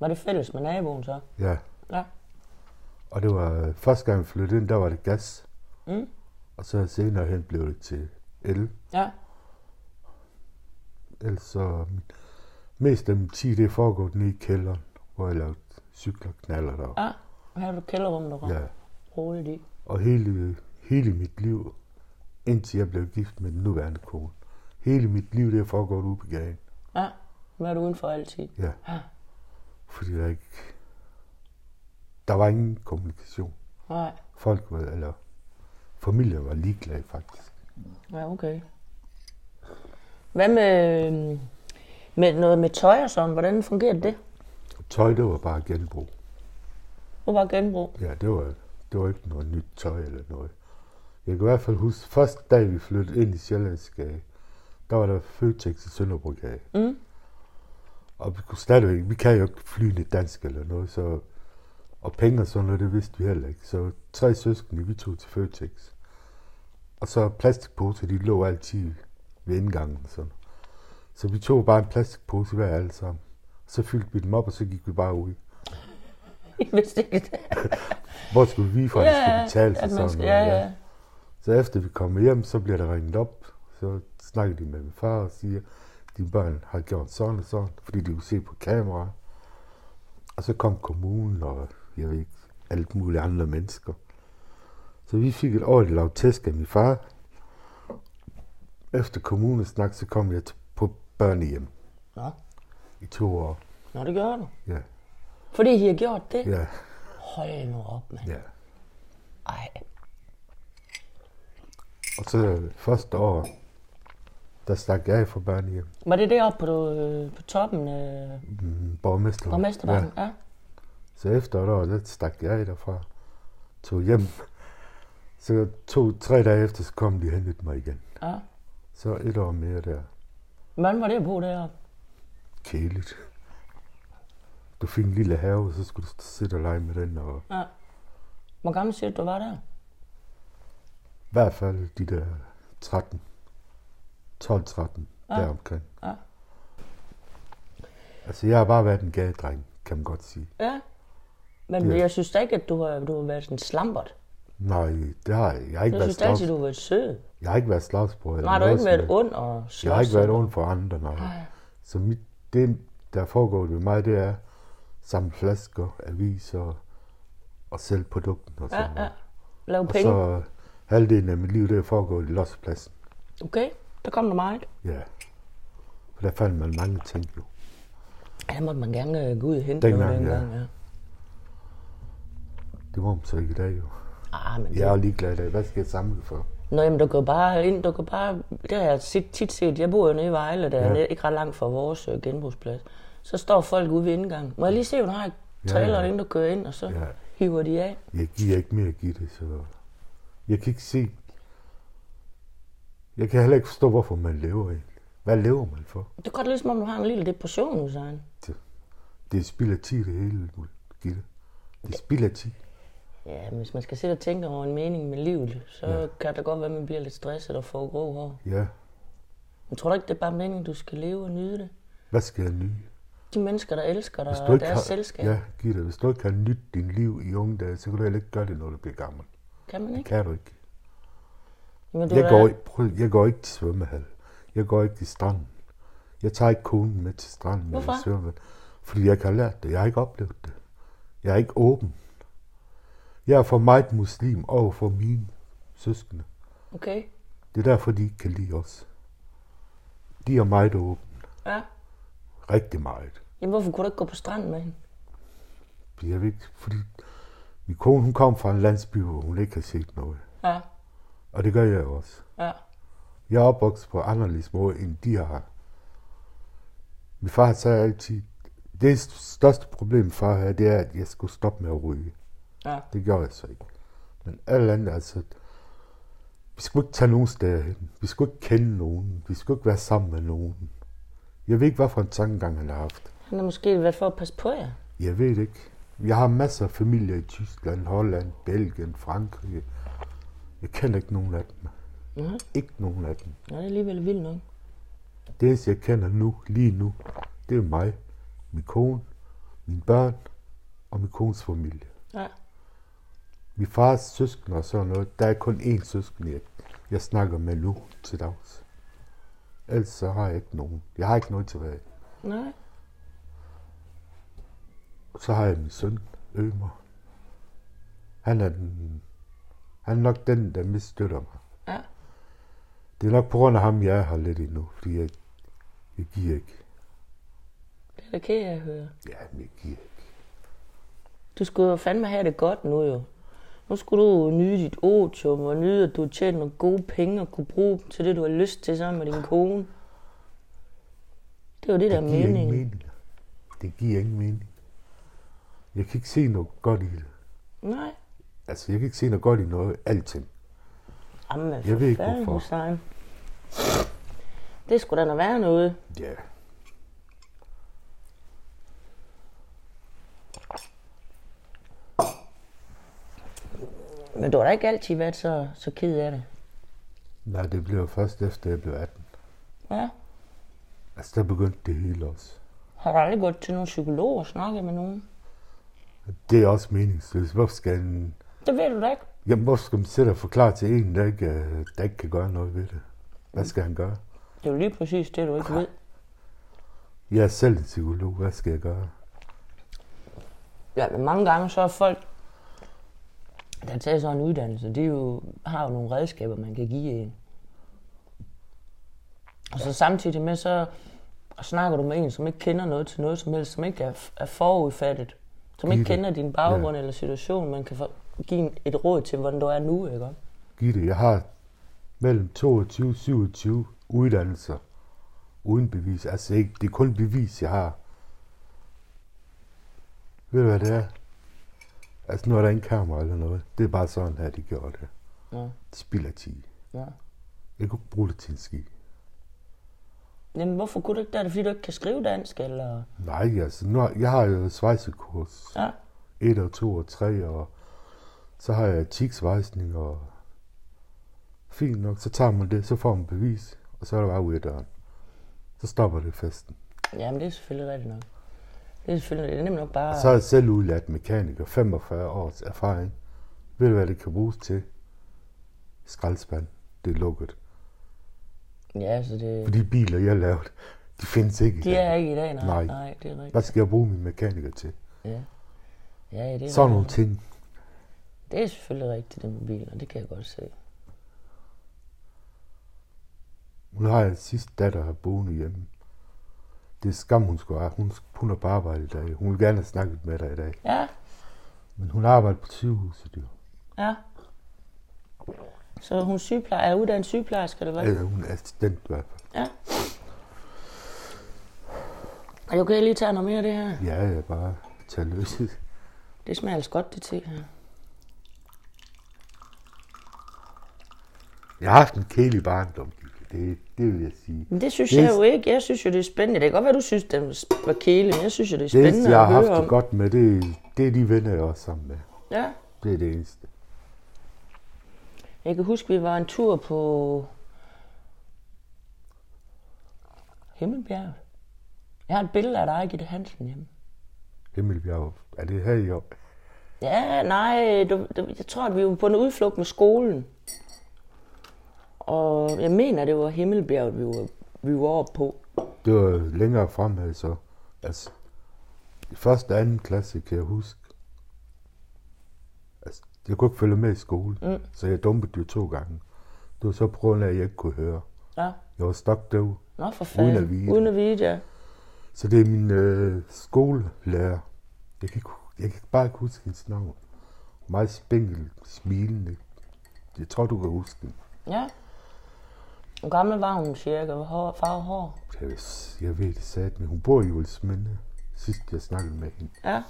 Var det fælles med naboen så?
ja.
Ja.
Og det var øh, første gang, vi flyttede ind, der var det gas,
Mm.
og så senere hen blev det til el.
Ja.
Ellers så mest af min tid, det er foregået nede i kælderen, hvor jeg lavede cykler, knaller der.
Ja. Og Her er du kælderrummet, der
Ja.
roligt i.
Og hele, hele mit liv, indtil jeg blev gift med den nuværende kone, hele mit liv, det er foregået ude på gaden.
Ja. Nu er du udenfor altid.
Ja. Fordi der ikke... Der var ingen kommunikation.
Nej.
Folk var, eller familien var ligeglade faktisk.
Ja, okay. Hvad med, øh, øhm, med noget med tøj og sådan? Hvordan fungerer det?
Tøj, det var bare genbrug.
Nu var genbrug.
Ja, det var, det var ikke noget nyt tøj eller noget. Jeg kan i hvert fald huske, første dag vi flyttede ind i Sjællandsgade, der var der Føtex i Sønderbrogade.
Mm.
Og vi kunne stadigvæk, vi kan jo ikke flyne dansk eller noget, så... Og penge og sådan noget, det vidste vi heller ikke. Så tre søskende, vi tog til Føtex. Og så plastikposer, de lå altid ved indgangen. Sådan. Så vi tog bare en plastikpose hver alle sammen. Så fyldte vi dem op, og så gik vi bare ud.
Jeg vidste ikke det.
Hvor skulle vi fra, ja, skulle betale for
at man
sådan
skal,
noget?
ja, ja.
Så efter vi kommer hjem, så bliver der ringet op. Så snakker de med min far og siger, dine børn har gjort sådan og sådan, fordi de kunne se på kamera. Og så kom kommunen og jeg ved ikke, alt muligt andre mennesker. Så vi fik et ordentligt lavet tæsk af min far. Efter kommunens snak, så kom jeg til- på børnehjem
Nå.
i to år.
Nå, det gjorde du.
Ja,
Fordi I har gjort det?
ja,
Hold nu op, mand.
ja.
Ej.
Og så første år, der stak jeg af fra børnehjem.
Var det deroppe på, øh, på toppen af øh,
Mm, Borgmester.
borgmesterbakken? Ja. ja.
Så efter et år, der stak jeg derfra, tog hjem. Så to-tre dage efter, så kom de og hentede mig igen.
ja.
Så et år mere der.
Hvordan var det at bo deroppe?
Kæligt. Du fik en lille have, så skulle du sidde og lege med den. Og
Ja. Hvor gammel siger du, du var der?
i hvert fald de der 13. 12-13, ja. deromkring.
Ja.
Altså, jeg har bare været en gadedreng, kan man godt sige.
Ja. Men
Ja.
jeg synes da ikke, at du har, du har været sådan slampert.
Nej, det har jeg, jeg har ikke
Jeg
været
synes da
slags...
altid, du har været sød.
Jeg har ikke været slagsbror. eller
Nej, du har
noget
ikke
som
været
helst.
ond og slås.
Jeg har ikke været oven for andre, nej. Så mit, det, der foregår ved mig, det er samle flasker, aviser og sælge produkten og sådan
Ja, ja.
noget.
Lav
Og
penge.
så øh, halvdelen af mit liv, det foregår i lossepladsen.
Okay, der kom der meget.
Ja. For der fandt man mange ting jo.
Ja, der måtte man gerne øh, gå ud og hente
Dengang,
noget
ja.
dengang. Ja.
Det var man så ikke i dag jo.
Ah, men
Jeg er jo ligeglad i dag. Hvad skal jeg samle for?
Nå, jamen, du kan jo bare ind, du kan bare, det har jeg set- tit set, jeg bor jo nede i Vejle, der ja.
Ja.
er ikke ret langt fra vores øh, genbrugsplads. Så står folk ude ved indgangen. Må jeg lige se, hvor du har
Ja,
trailer, ja,
ja.
inden du kører ind, og så ja.
Ja.
hiver de af.
Jeg giver ikke mere at give det, så... Jeg kan ikke se... Jeg kan heller ikke forstå, hvorfor man lever egentlig. Hvad lever man for?
Det er godt ligesom, om du har en lille depression, Usain.
Det er spild af tid, det hele, Gitte. Det er spild af tid.
Ja, men hvis man skal sidde og tænke over en mening med livet, så ja. kan det godt være, at man bliver lidt stresset og får grå hår.
Ja.
Men tror du ikke, det er bare meningen, du skal leve og nyde det?
Hvad skal jeg nyde?
De mennesker, der elsker dig
Hvis du
og
ikke
deres
har,
selskab,
Ja, Gitte, hvis du ikke har nyt din liv i unge dage, så kan du heller ikke gøre det, når du bliver gammel.
kan man
Det
ikke?
kan du ikke.
Men du
Jeg
er-
går, ikke- prøv, jeg går ikke til svømmehal. Jeg går ikke til stranden. Jeg tager ikke konen med til stranden. eller
Hvorfor?
svømmehal, Fordi jeg ikke har lært det. Jeg har ikke oplevet det. Jeg er ikke åben. Jeg er for meget muslim over for mine søskende.
Okay,
Det er derfor, de ikke kan lide os. De er meget åbne.
ja.
Rigtig meget.
Jamen, hvorfor kunne du ikke gå på stranden med hende?
Jeg ved ikke, fordi min kone hun kom fra en landsby, hvor hun ikke har set noget.
Ja,
Og det gør jeg jo også.
ja.
Jeg er opvokset på anderledes måde, end de har. Min far sagde altid, det største problem far her, det er, at jeg skulle stoppe med at ryge.
Ja.
Det gjorde jeg så ikke. Men alt andet, altså, vi skulle ikke tage nogen steder hen. Vi skulle ikke kende nogen. Vi skulle ikke være sammen med nogen. Jeg ved ikke, hvad for en tankegang han har haft.
Han har måske været for at passe på jer.
Jeg ved det ikke. Jeg har masser af familier i Tyskland, Holland, Belgien, Frankrig. Jeg kender ikke nogen af dem.
Mhm.
Ikke nogen af dem.
Ja, det er alligevel vildt nok.
Det eneste, jeg kender nu, lige nu, det er mig, min kone, mine børn og min kones familie.
Ja.
Min fars søskende og sådan noget, der er kun én søskende, jeg, jeg snakker med nu til dags. Ellers så har jeg ikke nogen. Jeg har ikke noget tilbage.
Nej.
Så har jeg min søn, Ømer. Han er, den, han er nok den, der mest støtter mig.
Ja.
Det er nok på grund af ham, jeg er her lidt endnu, fordi jeg, jeg giver ikke.
Det er da ked af at høre.
Ja, men jeg giver ikke.
Du skulle jo fandme have det godt nu jo. Nu skulle du nyde dit otium og nyde, at du har tjent nogle gode penge og kunne bruge dem til det, du har lyst til sammen med din kone. Det er jo det, der er
Det giver ingen
meningen.
mening. Det giver ingen mening. Jeg kan ikke se noget godt i det.
Nej.
Altså, jeg kan ikke se noget godt i noget, alting.
Jamen, jeg
Jeg ved ikke,
fanden,
hvorfor.
Hussein. Det skulle da noget være noget.
Ja.
Men du har da ikke altid været så, så ked af det.
Nej, det blev først efter, jeg blev 18.
Ja.
Altså, der begyndte det hele også.
Har du aldrig gået til nogen psykolog og snakket med nogen?
Det er også meningsløst. Hvorfor skal en...
Det ved du da ikke.
Jamen, hvorfor skal man sidde og forklare til en, der ikke, øh, der ikke kan gøre noget ved det? Hvad skal han gøre?
Det er jo lige præcis det, du ikke ved.
Jeg er selv en psykolog. Hvad skal jeg gøre?
Ja, men mange gange så er folk, der tager sådan en uddannelse, de jo, har jo nogle redskaber, man kan give en. Og så samtidig med, så snakker du med en, som ikke kender noget til noget som helst, som ikke er, er forudfattet, som ikke
Gitte.
kender din baggrund ja. eller situation, man kan for, give en- et råd til, hvordan du er nu, ikke?
Gitte, jeg har mellem 22 og 27 uddannelser uden bevis. Altså ikke, det er kun bevis, jeg har. Ved du, hvad det er? Altså, nu er der ingen kamera eller noget. Det er bare sådan her, de gjorde det.
Ja.
De spilder tid.
Ja.
Jeg kunne ikke bruge det til en skid.
Jamen, hvorfor kunne du ikke det? Er det, fordi du ikke kan skrive dansk, eller?
Nej, altså, nu har, jeg har jo svejsekurs.
Ja.
1 og 2 og 3, og så har jeg tiksvejsning, og fint nok, så tager man det, så får man bevis, og så er der bare ud af døren. Så stopper det festen.
Jamen, det er selvfølgelig rigtigt nok. Det er selvfølgelig, det er nemlig nok bare...
Og så er jeg selv udlært mekaniker, 45 års erfaring. Ved du, hvad det kan bruges til? Skraldespand. Det er lukket.
Ja, så det...
For de biler, jeg har lavet, de findes ikke. i
De er
Danmark.
ikke i dag, nej.
Nej.
nej det er rigtigt.
Hvad skal jeg bruge min mekaniker til?
Ja. Ja, ja, det er
Sådan nogle
rigtigt.
ting.
Det er selvfølgelig rigtigt, det med biler. Det kan jeg godt se.
Hun har en sidste datter her boende hjemme. Det er skam, hun skulle have. Hun, hun er på arbejde i dag. Hun vil gerne have snakket med dig i dag.
Ja,
Men hun arbejder på sygehuset, jo.
ja. Så hun sygeplejer, er uddannet sygeplejerske, eller hvad?
Eller hun er assistent i hvert fald.
Ja. Er det okay, jeg lige tager noget mere af det her?
Ja, jeg er bare tager løs.
Det smager altså godt, det te her.
Jeg har haft en kælig barndom, Gitte. det, det vil jeg sige.
Men det synes
Det er-
jeg jo ikke. Jeg synes jo, det er spændende. Det kan godt være, du synes, den var kæle, men jeg synes jo, det er
Det
spændende
eneste, jeg
at
har
høre
haft
om.
det godt med, det, det er de venner, jeg også er sammen med.
Ja.
Det er det eneste.
Jeg kan huske, vi var en tur på Himmelbjerget. Jeg har et billede af dig, Gitte Hansen, hjemme.
Himmelbjerg, er det her i år?
Ja, nej, du, du, jeg tror, at vi var på en udflugt med skolen. Og jeg mener, det var Himmelbjerget, vi var, vi var oppe på.
Det var længere fremad, så. Altså, i første og anden klasse kan jeg huske. Altså, jeg kunne ikke følge med i skole, mm. så jeg dumpede jo to gange. Det var så på grund af, at jeg ikke kunne høre.
Ja,
Jeg var stokdøv.
nå for fanden.
Uden at vide det.
Uden at vide, ja.
Så det er min øh, skolelærer. Jeg kan, ikke, hu- jeg kan bare ikke huske hendes navn. Meget spinkel, smilende. Jeg tror, du kan huske den.
Ja. Hvor gammel var hun cirka? Hvor hår- farve hår?
Jeg, ved- jeg ved det sat, men hun bor i Ulsminde. Sidst jeg snakkede med hende.
Ja,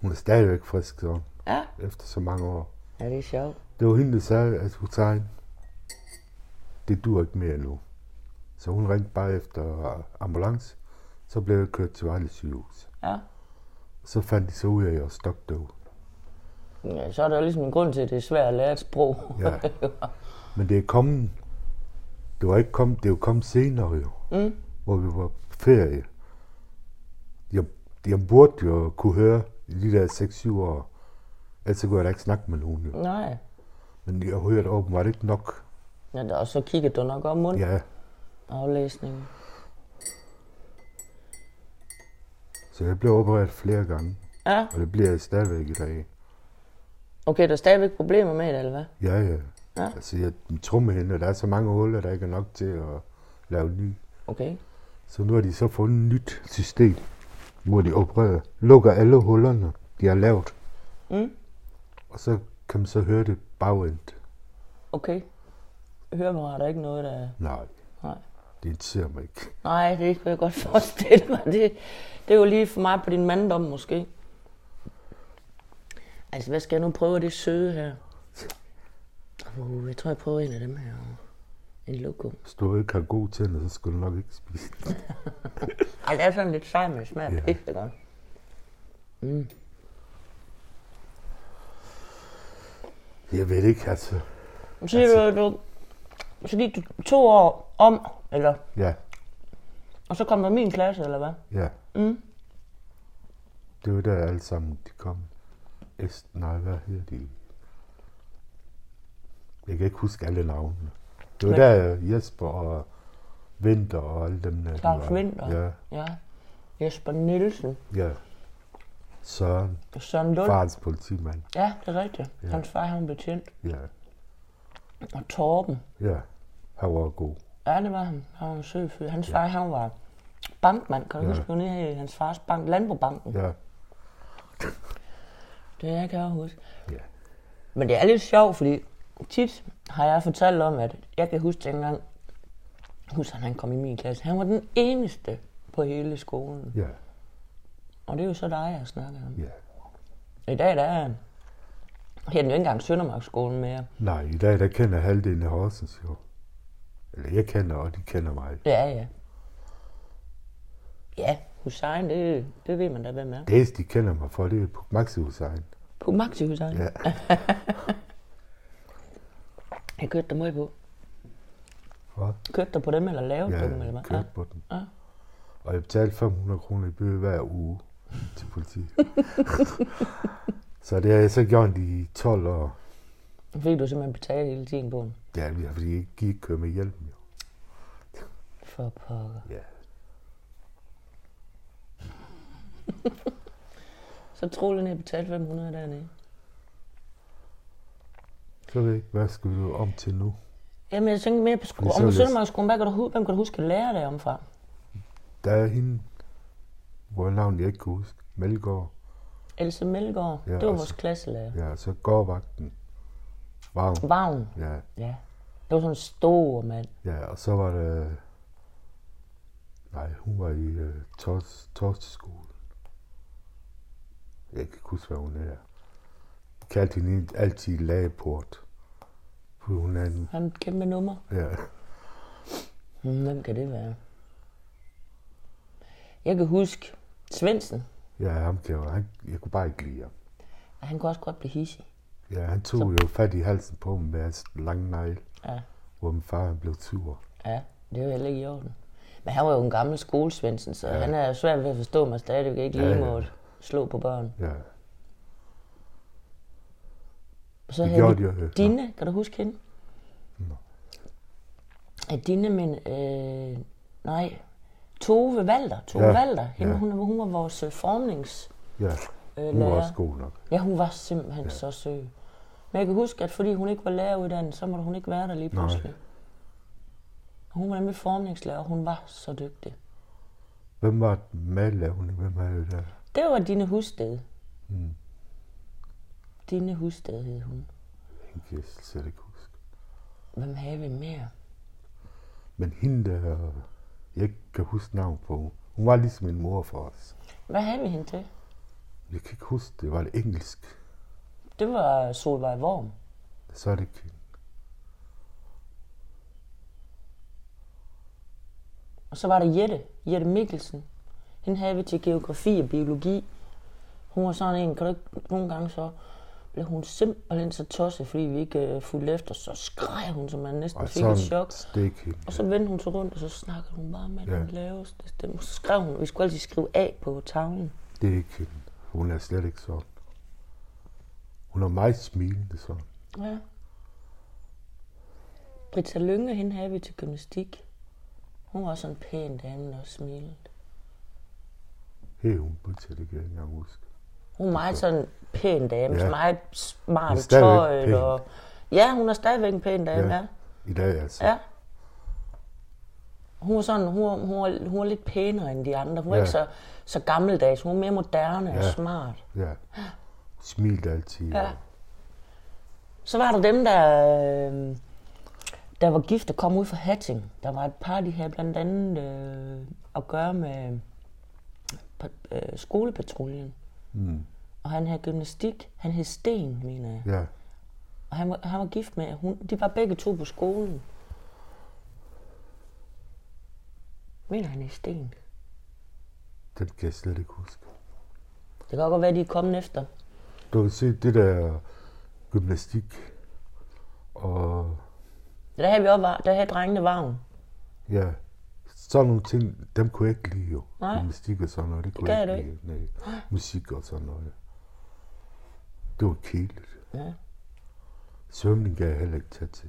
Hun er stadigvæk frisk, så
ja.
efter så mange år.
Ja, det er sjovt.
Det var hende, der sagde, at hun tager Det dur ikke mere nu. Så hun ringte bare efter ambulance. Så blev jeg kørt til Vejle sygehus.
Ja.
Så fandt de så ud af, at jeg var stokdøv.
ja. så er der jo ligesom en grund til, at det er svært at lære et sprog.
Ja. Men det er kommet... Det var ikke kommet... Det er jo kommet senere jo.
Mm.
Hvor vi var på ferie. Jeg, jeg burde jo kunne høre i de der 6-7 år. Ellers så kunne jeg da ikke snakke med nogen. Jo.
nej.
Men jeg hørte åbenbart ikke nok.
Ja, og så kigger du nok om munden.
Ja,
Aflæsningen.
så jeg blev opereret flere gange.
Ja.
Og det bliver jeg stadigvæk i dag.
Okay, der er stadigvæk problemer med det, eller hvad?
Ja, ja.
Ja.
Altså, jeg, min trummehinde, der er så mange huller, der ikke er nok til at lave ny.
Okay.
Så nu har de så fundet et nyt system, hvor de opererer. Lukker alle hullerne, de har lavet.
Mm.
Og så kan man så høre det bagendt.
Okay. Høreapparat er ikke noget, der...
Nej,
Nej.
det interesserer mig ikke.
Nej, det kan jeg godt forestille mig. Det, det er jo lige for meget på din manddom, måske. Altså, hvad skal jeg nu prøve af det søde her? Uh, jeg tror, jeg prøver en af dem her. En loco.
Hvis du ikke har gode tænder, så skal du nok ikke spise den.
Ej, det er sådan lidt sej, men det smager
Ja.
yeah. pisse godt.
Jeg ved ikke, altså.
Men Så, altså. du, så gik du to år om, eller,
Ja,
og så kom der min klasse, eller hvad?
ja.
Mm.
Det var der alle sammen, de kom. Est, nej, hvad hedder de? Jeg kan ikke huske alle navnene. Det var
Men-
der Jesper og Vinter og alle dem der. de
Claus
var.
Winther.
Ja,
Ja. Jesper Nielsen.
ja. Søren,
Søren Lund.
farens politimand.
Ja, det er rigtigt.
Ja.
Ja. Hans far, han blev tjent.
Ja,
Og Torben.
ja. Han var god.
Ja, det var han. Han var en sød fyr. Hans far, han var bankmand. Kan du
Ja.
ja. huske, han hed i hans fars bank? Landbobanken. Ja.
Ja,
Det kan jeg huske.
ja.
Men det er lidt sjovt, fordi tit har jeg fortalt om, at jeg kan huske dengang, husk, han kom i min klasse. Han var den eneste på hele skolen.
Ja,
Og det er jo så dig, jeg snakker om.
ja.
I dag, der er jeg den jo ikke engang Søndermarksskolen mere.
Nej, i dag der kender halvdelen af Horsens jo. Eller jeg kender, og de kender mig.
Ja, ja. Ja, Hussein, det, det ved man da, hvem er.
Det eneste, de kender mig for, det er på Maxi Hussein.
På Maxi Hussein.
Ja.
Jeg kørte dig meget på.
Hvad?
Kørte dig på dem, eller lavede
Ja,
på dem, eller hvad? Ja.
kørte på den.
Ja.
Og jeg betalte 500 kroner i bøde hver uge til politiet. så det har jeg så gjort i 12 år.
Fik du simpelthen betalt hele tiden på dem?
Ja, vi har- fordi jeg gik ikke køre med hjælpen jo.
For pokker.
Ja.
Så troede jeg, at betalte 500 dernede.
Så ved jeg ikke, hvad skal du om til nu?
Jamen, jeg tænkte mere på, sko-
Det
om
er
på
således.
Søndermarksskolen. Hvad kan du, hu- hvem kan du huske at lære dig om fra?
Der er hende, hvor navn jeg ikke kan huske. Melgaard.
Else Melgaard.
Ja,
Ja, det var
altså.
vores klasselærer.
Ja, og så gårdvagten. Wow.
Vagn.
Ja,
Ja. Det var sådan en stor mand.
ja, og så var der... Nej, hun var i uh, tors, torsteskolen. Jeg kan ikke huske, hvad hun er. Kaldte hende en- altid lageport. For hun er en...
Han er et kæmpe nummer.
Ja,
Hmm, Hvem kan det være? Jeg kan huske Svendsen.
ja ham kan jeg, jo- han, jeg kunne bare ikke lide ham.
Ej, Han kunne også godt blive hissig.
Ja, han tog jo fat i halsen på mig med hans lange negle,
Ja.
hvor min far han blev sur.
ja, det er jo heller ikke i orden. Men han var jo en gammel skolesvendsen, så ja. han er svært ved at forstå mig stadigvæk ikke
Ja,
lige
ja.
måtte slå på børn.
Ja,
Så
Det
havde
gjorde
vi
de, ja.
Dine, kan du huske hende? Nå. Dine, men... Øh, nej, Tove Valder. Tove
Ja,
ja. Valder. Hende,
ja.
ja. hun, hun var vores øh, formnings...
ja.
Øh,
Hun var
lærer.
også god nok.
Ja, hun var simpelthen ja. så sød. Men jeg kan huske, at fordi hun ikke var læreruddannet, så måtte hun ikke være der lige
Nej.
pludselig. Og Hun var nemlig formningslærer, og hun var så dygtig.
Hvem var madlav hun? Hvem er det der?
Det var Dine Husted. Mm. Dine Husted hed hun.
Hende kan jeg slet ikke huske.
Hvem havde vi mere?
Men hende der, jeg ikke kan huske navn på, hun var ligesom en mor for os.
Hvad havde vi hende til?
Jeg kan ikke huske, det var det engelsk.
Det var Solvej Vorm.
Så er det ikke hende.
Og så var der Jette, Jette Mikkelsen. Hende havde vi til geografi og biologi. Hun var sådan en, kan du ikke, nogle gange så blev hun simpelthen så tosset, fordi vi ikke øh, fulgte efter. Så skreg hun, så man næsten
Og
fik et chok.
så det er ikke hende.
Og så vendte hun sig rundt, og så snakkede hun bare med
Ja.
ja. den laveste stemme. Så skrev hun, vi skulle altid skrive A på tavlen.
Det er ikke hende. Hun er slet ikke sådan. Hun er meget smilende sådan.
Ja. Britta Lynge, hende havde vi til gymnastik. Hun var sådan en pæn dame, der smilede.
Hey, hun på til det kan jeg ikke engang huske.
Hun er meget sådan en pæn dame,
Ja.
ja. meget
Hun er
smart i
stadigvæk
tøjet.
pæn.
Og... Ja, hun er stadigvæk en pæn dame,
Ja.
ja.
I dag altså.
ja. Hun er sådan, hun, er- hun, er, hun er lidt pænere end de andre. Hun er
Ja.
ikke så, så gammeldags, hun er mere moderne ja. og
Ja.
smart.
ja. Smilte altid.
Ja.
og-
Så var der dem, der, øh, der var gift og kom ud fra Hatting. Der var et par, de havde blandt andet øh, at gøre med pa- øh, skolepatruljen. Mm. og han havde gymnastik. Han hed Sten, mener jeg.
Ja,
Og han var, han var gift med, hun, de var begge to på skolen. Mener han er Sten?
den kan jeg slet ikke huske.
Det kan godt være, de er kommet efter.
Du kan se det der gymnastik, og
Det der havde vi også, var- der havde drengene vagn.
ja, sådan nogle ting, dem kunne jeg ikke lide jo.
Nej.
Gymnastik og sådan noget, det kunne
gad
jeg
du
ikke lide. Nej. Musik og sådan noget. Det var kedeligt.
Ja.
Svømning kan jeg heller ikke tage til.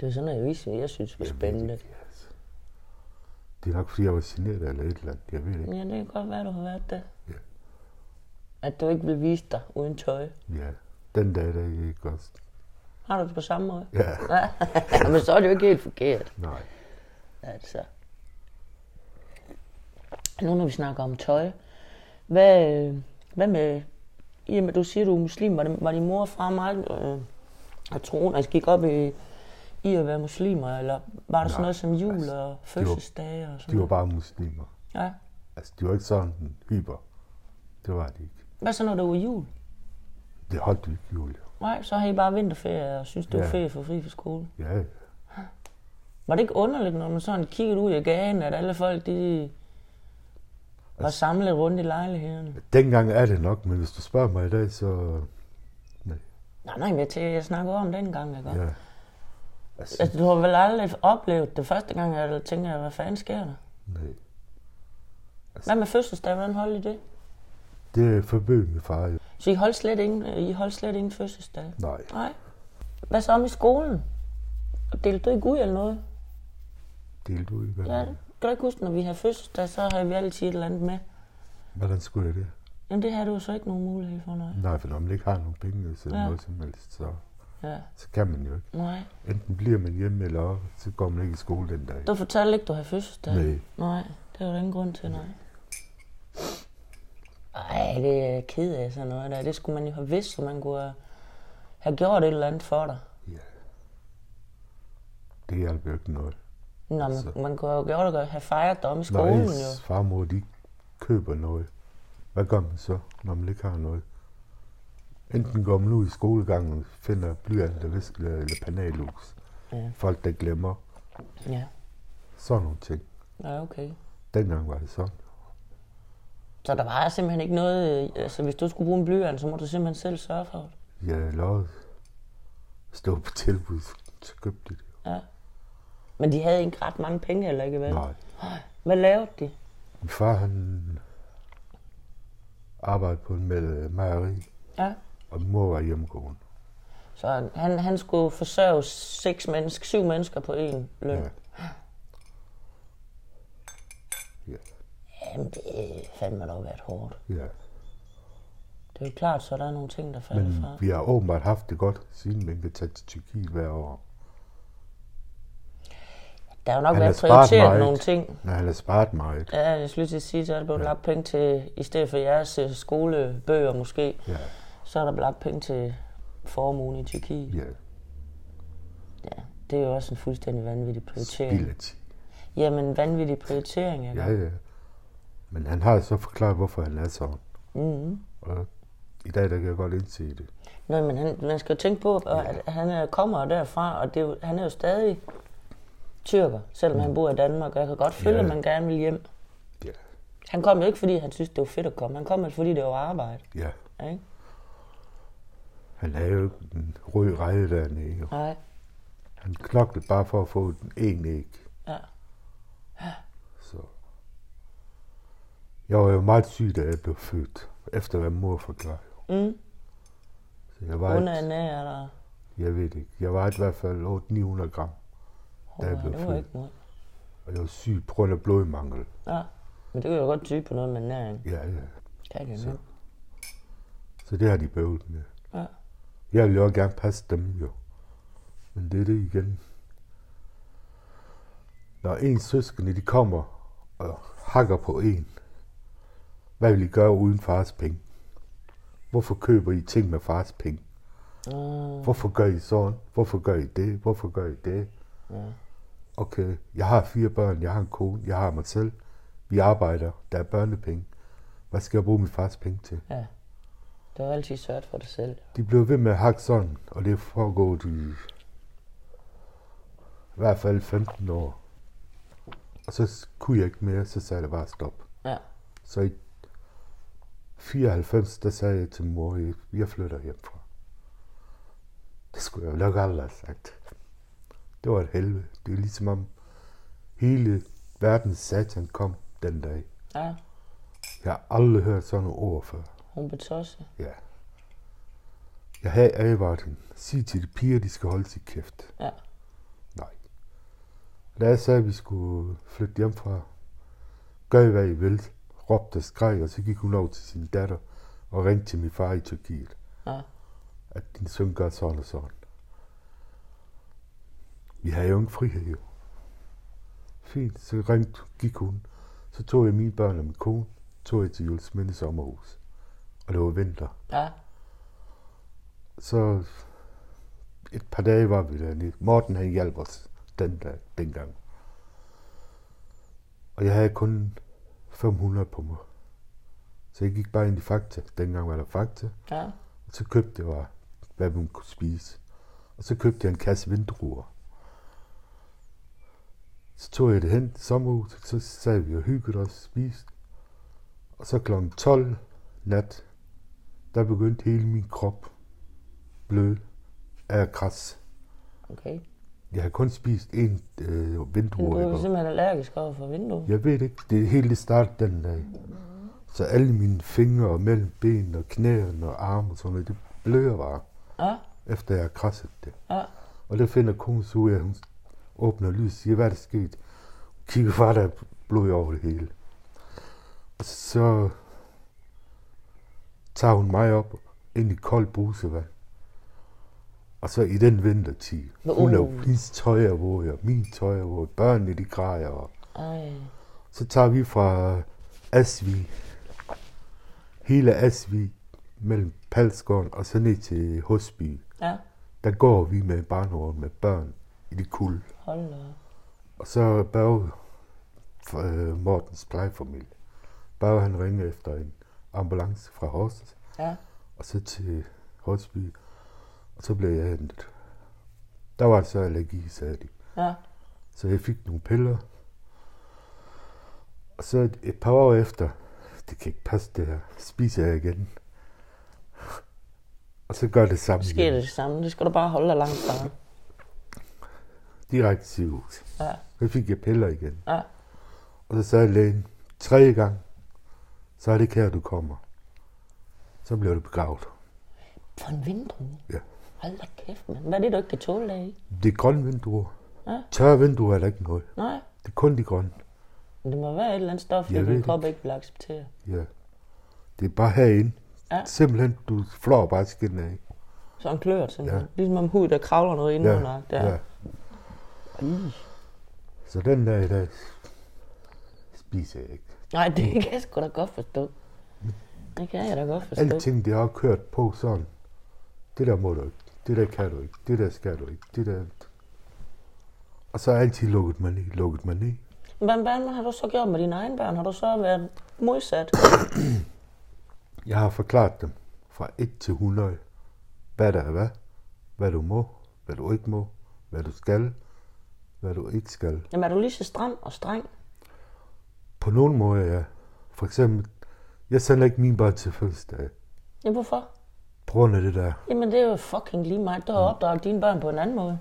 Det var sådan noget, jeg, vidste, jeg synes var spændende.
Yes. Det er nok fordi, jeg var generet eller et eller andet, jeg ved det ikke.
Ja, det kan godt være, du har været det.
Ja.
At du ikke vil vise dig uden tøj.
Ja, den dag, der er ikke også.
Har du det på samme måde?
Ja,
Ja, men så er det jo ikke helt forkert.
nej.
Altså. Nu når vi snakker om tøj, hvad, øh, hvad med, i og med du siger, du er muslim, var, det, var din mor og far meget øh, at troen, altså gik op i, i at være muslimer, eller var der
Nej,
sådan noget som jul
altså,
og fødselsdage og sådan
De var
noget?
bare muslimer.
Ja.
Altså, de var ikke sådan hyper. Det var de ikke.
Hvad så, når det var jul?
Det holdt de ikke, Julia.
Nej, så har I bare vinterferie og synes, det var
Ja.
ferie for fri for skole.
Ja, ja.
Var det ikke underligt, når man sådan kiggede ud i gaden, at alle folk, de var
Altså-
samlet rundt i lejlighederne?
Dengang er det nok, men hvis du spørger mig i dag, så... Nej,
Nej, nej, men jeg, tænker, jeg snakker om dengang, ikke? Ja.
ja. Altså,
Altså, du har vel aldrig oplevet det første gang, jeg tænker, hvad fanden sker der?
nej.
Hvad med fødselsdag? Hvordan holdt I det?
Det forbød min far jo.
Så I holdt slet ingen, øh, I holdt slet ingen fødselsdag?
Nej.
Nej. Hvad så om i skolen? Delte du ikke ud eller noget?
Delte ud i
Ja,
verden.
kan du ikke huske, når vi havde fødselsdag, så havde vi altid et eller andet med.
Hvordan skulle jeg det?
Jamen, det havde du jo så ikke nogen mulighed for, nej.
Nej, for når man ikke har nogen penge til
Ja.
ja. noget som helst, så,
Ja,
så kan man jo ikke.
nej.
Enten bliver man hjemme, eller så går man ikke i skole den dag.
Du fortalte ikke, du havde fødselsdag?
Nej.
Nej, det var der ingen grund til, nej. Ej, det er jeg ked af sådan noget der. Det skulle man jo have vidst, så man kunne øh, have gjort et eller andet for dig.
Ja. Det hjalp jo ikke noget.
Nå,
Så-
man, man kunne jo gjort at have fejret dig om i
Når
skolen jo.
ens farmor, de køber noget, hvad gør man så, når man ikke har noget? Enten går man ud i skolegangen og finder blyant og viskler eller panalus.
Ja.
Folk, der glemmer.
Ja,
Sådan nogle ting.
ja okay.
Dengang var det sådan.
Så der var simpelthen ikke noget... øh, Altså, hvis du skulle bruge en blyant, så må du simpelthen selv sørge for det.
Jeg lovede stå på tilbud, så købte de det.
Ja. Men de havde ikke ret mange penge heller ikke, vel?
Nej.
Hvad lavede de?
Min far, han arbejdede på en mel- mejeri,
Ja.
og min mor var hjemmegående.
Så han, han skulle forsørge seks mennesker, syv mennesker på én løn.
Ja. Ja.
Jamen, det fandme dog været hårdt.
ja.
Det er jo klart, så der er nogle ting, der falder Men...
Men
fra.
vi har åbenbart haft det godt, siden man kan tage til Tyrkiet hver år.
Der har jo nok
Han
været
har sparet
prioriteret
meget.
nogle ting.
Men han har sparet meget.
Ja, jeg skulle lige til at sige, så er der blevet
Ja.
lagt penge til, i stedet for jeres øh, skolebøger måske,
Ja,
så er der blevet lagt penge til formuen i Tyrkiet.
ja.
Ja. Det er jo også en fuldstændig vanvittig prioritering.
Spild af tid.
Jamen, vanvittig prioritering, ikke?
Ja, ja. Men han har så forklaret, hvorfor han er sådan.
Mm-hmm.
Og i dag, der kan jeg godt indse det.
Nå, men han, man skal jo tænke på, at han øh, kommer jo derfra, og det er jo, han er jo stadig tyrker, selvom mm. han bor i Danmark, og jeg kan godt føle,
Ja.
at man gerne vil hjem.
Ja,
Han kom jo ikke, fordi han synes det var fedt at komme. Han kom jo, fordi det var arbejde.
ja.
Ikke?
Han er jo ikke en rød reje dernede. jo.
Nej.
Han knoklede bare for at få den ene æg.
Ja.
Så. Jeg var jo meget syg, da jeg blev født. Efter hvad mor forklarede.
Mm.
Så jeg var
Under en
et,
af eller...
jeg ved det ikke. Jeg var i hvert fald 800-900 gram.
Oh,
Der er blevet
det var
født.
ikke noget.
Og jeg var syg på grund af blodmangel.
Ja. Men det kan jo godt tyde på noget med næring.
Ja, ja.
Kan det
Så.
nu?
Så det har de bøvlet med.
Ja.
Jeg vil jo også gerne passe dem jo. Men det er det igen. Når ens søskende de kommer og hakker på en, hvad vil I gøre uden fars penge? Hvorfor køber I ting med fars penge?
Mm.
Hvorfor gør I sådan? Hvorfor gør I det? Hvorfor gør I det?
Ja.
Okay, jeg har fire børn, jeg har en kone, jeg har mig selv. Vi arbejder, der er børnepenge. Hvad skal jeg bruge min fars penge til?
ja. Du har altid sørget for dig selv.
De bliver ved med at hakke sådan, og det er foregået i i hvert fald 15 år. Og så s- kunne jeg ikke mere, så sagde jeg bare stop.
Ja.
Så i 94, der sagde jeg til mor, "Jeg- jeg flytter hjemmefra. Det skulle jeg jo nok aldrig have sagt. Det var et helvede. Det er ligesom om hele verdens satan kom den dag.
Ja,
Jeg har aldrig hørt sådan nogle ord før.
hun blev tosset.
Ja. Jeg havde advaret hende. Sig til de piger, de skal holde sig kæft.
Ja.
Nej. Da jeg sagde, at vi skulle flytte hjemmefra, gør I, hvad I vil, råbte og skreg, og så gik hun over til sin datter og ringte til min far i Tyrkiet,
Ja.
at din søn gør sådan og sådan. Vi havde jo ingen frihed, jo. Fint, så ringte, gik hun. Så tog jeg mine børn og min kone, tog jeg til Jules Minde sommerhus. Og det var vinter.
Ja.
Så et par dage var vi dernede. Morten han hjalp os den dag, dengang. Og jeg havde kun 500 på mig. Så jeg gik bare ind i Fakta. Dengang var der Fakta.
Ja.
Og så købte jeg, bare, hvad man kunne spise. Og så købte jeg en kasse vindruer. Så tog jeg det hen til sommerhuset, så sad vi og hyggede os og spiste. Og så kl. 12 nat, der begyndte hele min krop blød af græs.
Okay.
Jeg har kun spist én øh,
Men du
vindruer. i
er
går.
simpelthen allergisk over for vinduet.
Jeg ved ikke, det hele det startede den dag. Så alle mine fingre og mellem ben og knæerne og arme og sådan noget, det bløder bare.
Ja.
efter jeg har krasset det.
Ja.
Og der finder konen så ud af, at hun åbner lyset og siger, hvad er der sket? Hun kigger bare, der er blod over det hele. Og så tager hun mig op ind i koldt brusevand. Og så i den vintertid. Hun er jo
Uh.
hendes tøj er våd, og min tøj er våd. Børnene de græder. Og
Ej.
så tager vi fra Asvi, hele Asvi, mellem Palsgården og så ned til Husby
Ja.
der går vi med barnevogn med børn i det kul.
Hold da. op.
Og så Børge, for, øh, Mortens plejefamilie, Børge han ringer efter en ambulance fra Horsens,
Ja.
og så til Horsby, og så blev jeg hentet. Der var så allergi, sagde de.
Ja.
Så jeg fik nogle piller. Og så et, et par år efter, det kan ikke passe det her, spiser jeg igen. Og så gør det samme.
Så sker
igen.
det det samme. Det skal du bare holde dig langt fra.
Direkte til sygehus.
Ja.
Så fik jeg piller igen.
Ja.
Og så sagde lægen, tredje gang, så er det ikke her, du kommer. Så blev du begravet.
For en vindue?
Ja.
Hold da kæft, mand. Hvad er det, du ikke kan tåle af?
Det er grønne vinduer.
Ja.
Tørre vinduer er der ikke noget.
Nej.
Det er kun de grønne.
Men Det må være et eller andet stof,
Jeg
det
ved
din
det
krop ikke vil acceptere.
Ja. Det er bare herinde.
Ja.
Simpelthen, du flår bare skinnet af.
Så en klør, simpelthen.
Ja.
Ja. Ligesom om hud, der kravler noget indenunder. Ja. Der. Ja.
Så den dag i dag spiser jeg ikke.
Nej, det kan jeg sgu da godt forstå. Det kan jeg da godt forstå.
Alting, det har kørt på sådan. Det der må du ikke. Det der kan du ikke. Det der skal du ikke. Det der... Og så har jeg altid lukket mig ned, lukket mig ned.
Hvordan, hvordan har du så gjort med dine egne børn? Har du så været modsat?
Jeg har forklaret dem fra 1 til 100, hvad der er hvad, hvad du må, hvad du ikke må, hvad du skal, hvad du ikke skal.
Jamen, er du lige så stram og streng?
På nogen måde er jeg, for eksempel, jeg sender ikke mine børn til fødselsdag,
Ja, hvorfor?
på grund af det der.
Jamen, det er jo fucking lige mig. Du har
Mm.
opdraget dine børn på en anden måde.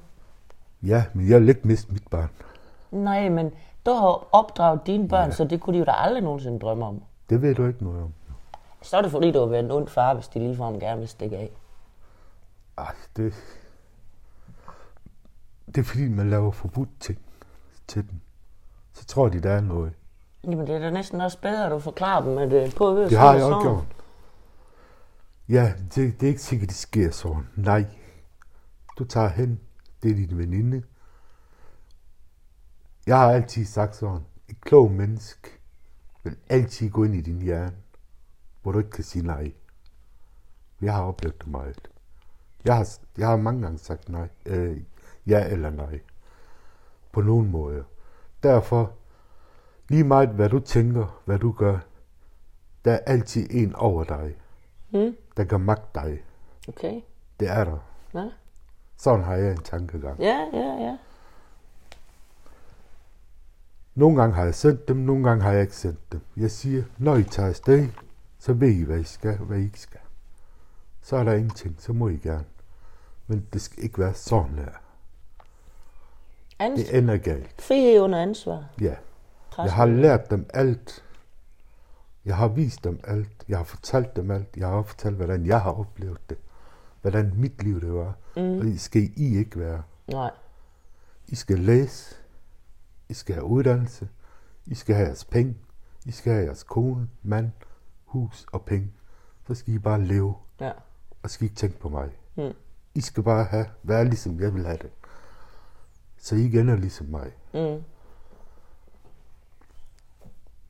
Ja, men jeg vil ikke miste mit barn.
Nej, men du har opdraget dine børn, ja. så det kunne de jo da aldrig nogensinde drømme om.
Det ved du ikke noget om.
Så er det fordi, du har været en ond far, hvis de ligefrem gerne vil stikke af.
Ej, det... Det er fordi, man laver forbudt ting til dem. Så tror de, der er noget.
Jamen, det er da næsten også bedre, at du forklarer dem, at øh, på ved
Det har jeg også gjort. Ja, det, det er ikke sikkert, det sker sådan. Nej. Du tager hen. Det er din veninde. Jeg har altid sagt sådan. Et klog menneske vil altid gå ind i din hjerne, hvor du ikke kan sige nej. Jeg har oplevet det meget. Jeg har, jeg har mange gange sagt nej. Øh, ja eller nej. På nogen måde. Derfor, lige meget hvad du tænker, hvad du gør, der er altid en over dig.
Mm.
der kan magte dig.
Okay.
Det er der.
Ja,
Sådan har jeg en tankegang.
ja, ja. ja.
Nogle gange har jeg sendt dem, nogle gange har jeg ikke sendt dem. Jeg siger, når I tager afsted, så ved I, hvad I skal og hvad I ikke skal. Så er der ingenting, så må I gerne. Men det skal ikke være sådan her.
Ans-
Det ender galt.
Frihed under ansvar.
Ja. Jeg
Pres-
har lært dem alt. Jeg har vist dem alt. Jeg har fortalt dem alt. Jeg har fortalt, hvordan jeg har oplevet det. Hvordan mit liv det var. Mm. Og det skal I ikke være.
Nej.
I skal læse. I skal have uddannelse. I skal have jeres penge. I skal have jeres kone, mand, hus og penge. Så skal I bare leve.
Ja.
Og skal ikke tænke på mig.
Mm.
I skal bare have, være ligesom jeg vil have det. Så I ikke ender ligesom mig.
Mm.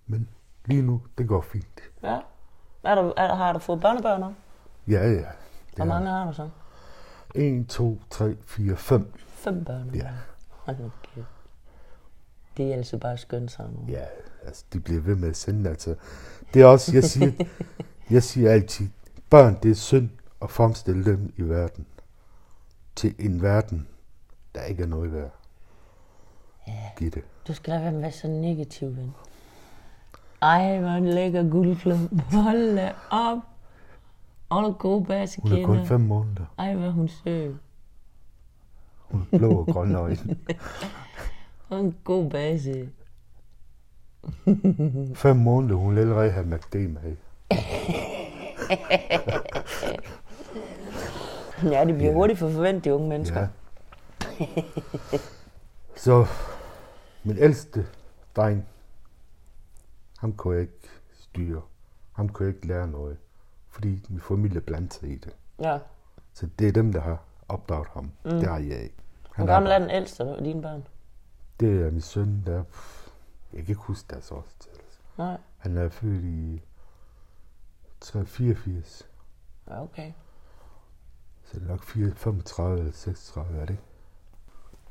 Men lige nu, det går fint.
Ja. Er du, er, har du fået børnebørn nu?
Ja, ja.
Hvor
er-
mange har du så?
1, 2, 3, 4, 5.
Fem børn.
Ja.
Hold nu kæft. Det er altså bare skønt sammen. nu.
Ja, altså, de bliver ved med at sende, altså. Det er også, jeg siger, jeg siger altid, børn, det er synd at fremstille dem i verden. Til en verden, der ikke er noget værd. Ja. Giv det.
Du skal lade være med at være så negativ, ven. Ej, hvor en lækker guldklump. Hold da op. Og der gode
Hun er kun
bassekinder.
5 måneder.
Ej, hvor er hun sød.
Hun er blå og grøn øjne.
Og en god base.
5 måneder, hun vil allerede have MACD med.
Ja, det bliver hurtigt for forventet, de unge mennesker.
Ja. Så min ældste dreng, ham kunne jeg ikke styre. Ham kunne jeg ikke lære noget, fordi min familie blandede sig i det.
ja.
Så det er dem, der har opdraget ham. Mm. Det har jeg ikke.
Hvor
Han
gammel er
er,
den ældste af dine børn?
det er min søn, der er, pff, jeg kan ikke huske deres årstal.
Nej.
Han er født i 84,
Ja, okay.
så det er nok 4, 35 eller 36, er det ikke?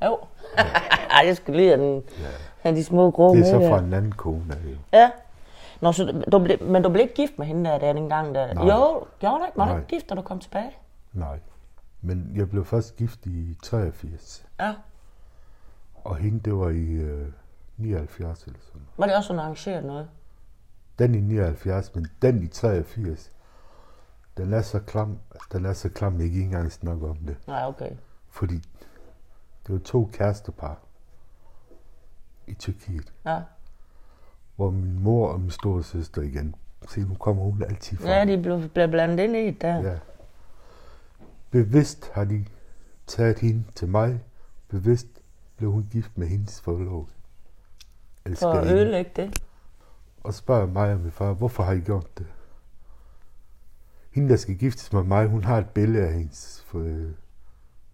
Jo. Ej, jeg skulle lige have, den, have de små grå
Det er
med
så
der.
fra en anden kone, er det jo.
Ja. Nå, så du ble, men du blev ikke gift med hende der, der den gang der?
Nej.
Jo, gjorde du ikke? Var du
Nej.
ikke gift, da du kom tilbage?
Nej. Men jeg blev først gift i 83,
Ja.
og hende, det var i øh, 79 eller sådan noget.
Var det også sådan arrangeret noget?
Den i 79, men den i 83, den er så klam, den er så klam, jeg ikke engang snakker om det.
Nej, okay.
Fordi det var to kærestepar i Tyrkiet,
Ja,
hvor min mor og min store søster igen. Se, nu kommer hun altid fra.
ja de blev, blev blandet ind i det der. Ja.
Ja. Bevidst har de taget hende til mig. Bevidst blev hun gift med hendes forlov.
For at ødelægge det.
Og spørger mig og min far, hvorfor har I gjort det? Hende, der skal giftes med mig, hun har et billede af hendes for, øh,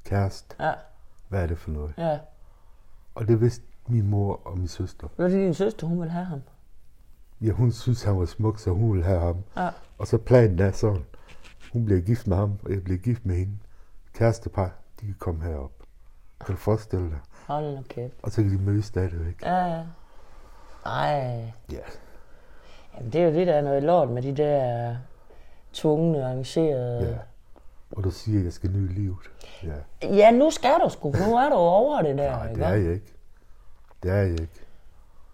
kæreste.
Ja,
Hvad er det for noget?
ja.
Og det vidste min mor og min søster.
Var det din søster, hun ville have ham?
Ja, hun synes, han var smuk, så hun ville have ham.
Ja.
Og så planen er sådan, hun bliver gift med ham, og jeg bliver gift med hende. Kærestepar, de kan komme herop. Kan du forestille dig?
Hold nu kæft.
Og så kan de mødes stadigvæk.
Ja, ja. Ej.
Ja.
Jamen, det er jo det, der er noget lort med de der tvungne, arrangerede...
ja. Og du siger, at jeg skal nyde livet. Ja,
Ja, nu skal du sgu, for nu er du over det der,
Nej,
ikke?
det er jeg ikke. Det er jeg ikke.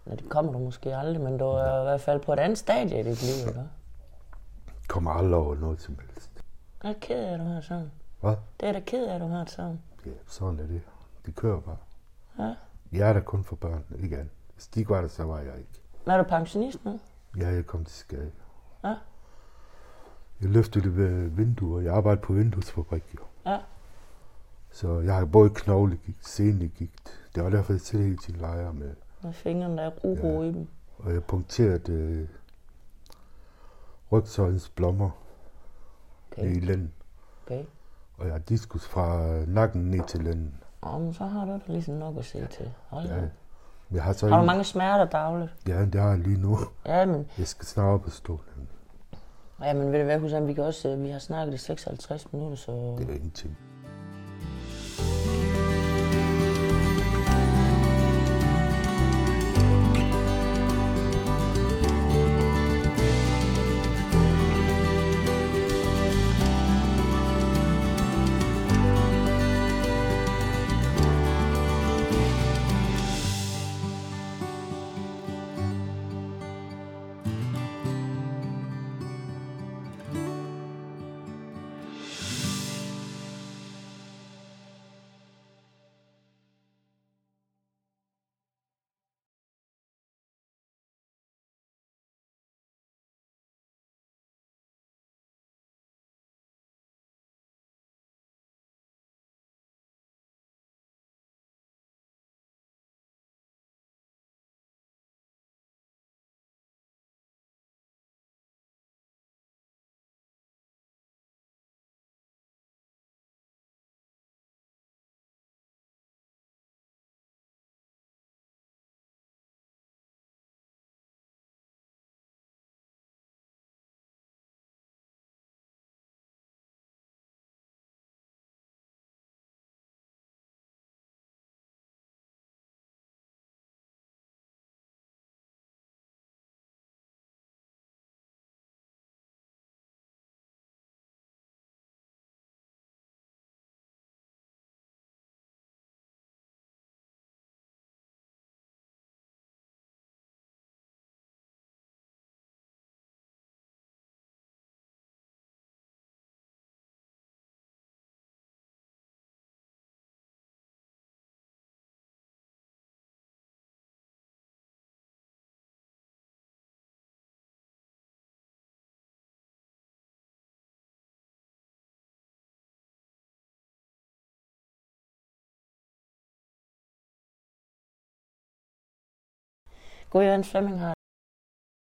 Ja, det kommer du måske aldrig, men du er i hvert fald på et andet stadie i dit liv, ikke?
Kommer aldrig over noget som helst.
Jeg er ked af, at du har sådan.
Hvad?
Det er da ked af, at du har sådan.
Ja, sådan er det. Det kører bare.
Ja.
Jeg er der kun for børn, ikke andet. Hvis de ikke var der, så var jeg ikke.
Men er du pensionist nu?
Ja, jeg kom til skade.
Ja.
Jeg løftede ved vinduer. Jeg arbejdede på vinduesfabrik, jo.
Ja.
Så jeg har både knoglegigt, senegigt. Det var derfor, jeg selv hele tiden leger med.
Med fingrene, der er uro i dem.
Og jeg punkterede øh, rygsøjens blommer okay. i
Okay,
lænden.
okay.
Og jeg har diskus fra nakken ned til lænden.
Åh, men så har du da ligesom nok at se til. Hold da.
Ja. Jeg har så
Har du
en-
mange smerter dagligt?
Ja, det har jeg lige nu.
Ja, men,
Jeg skal snart op og stå. nemlig.
ja, men ved du hvad, Hussein, vi, kan også, øh, vi har snakket i 56 minutter, så...
Det er ingenting.
Gå i hans Flemming har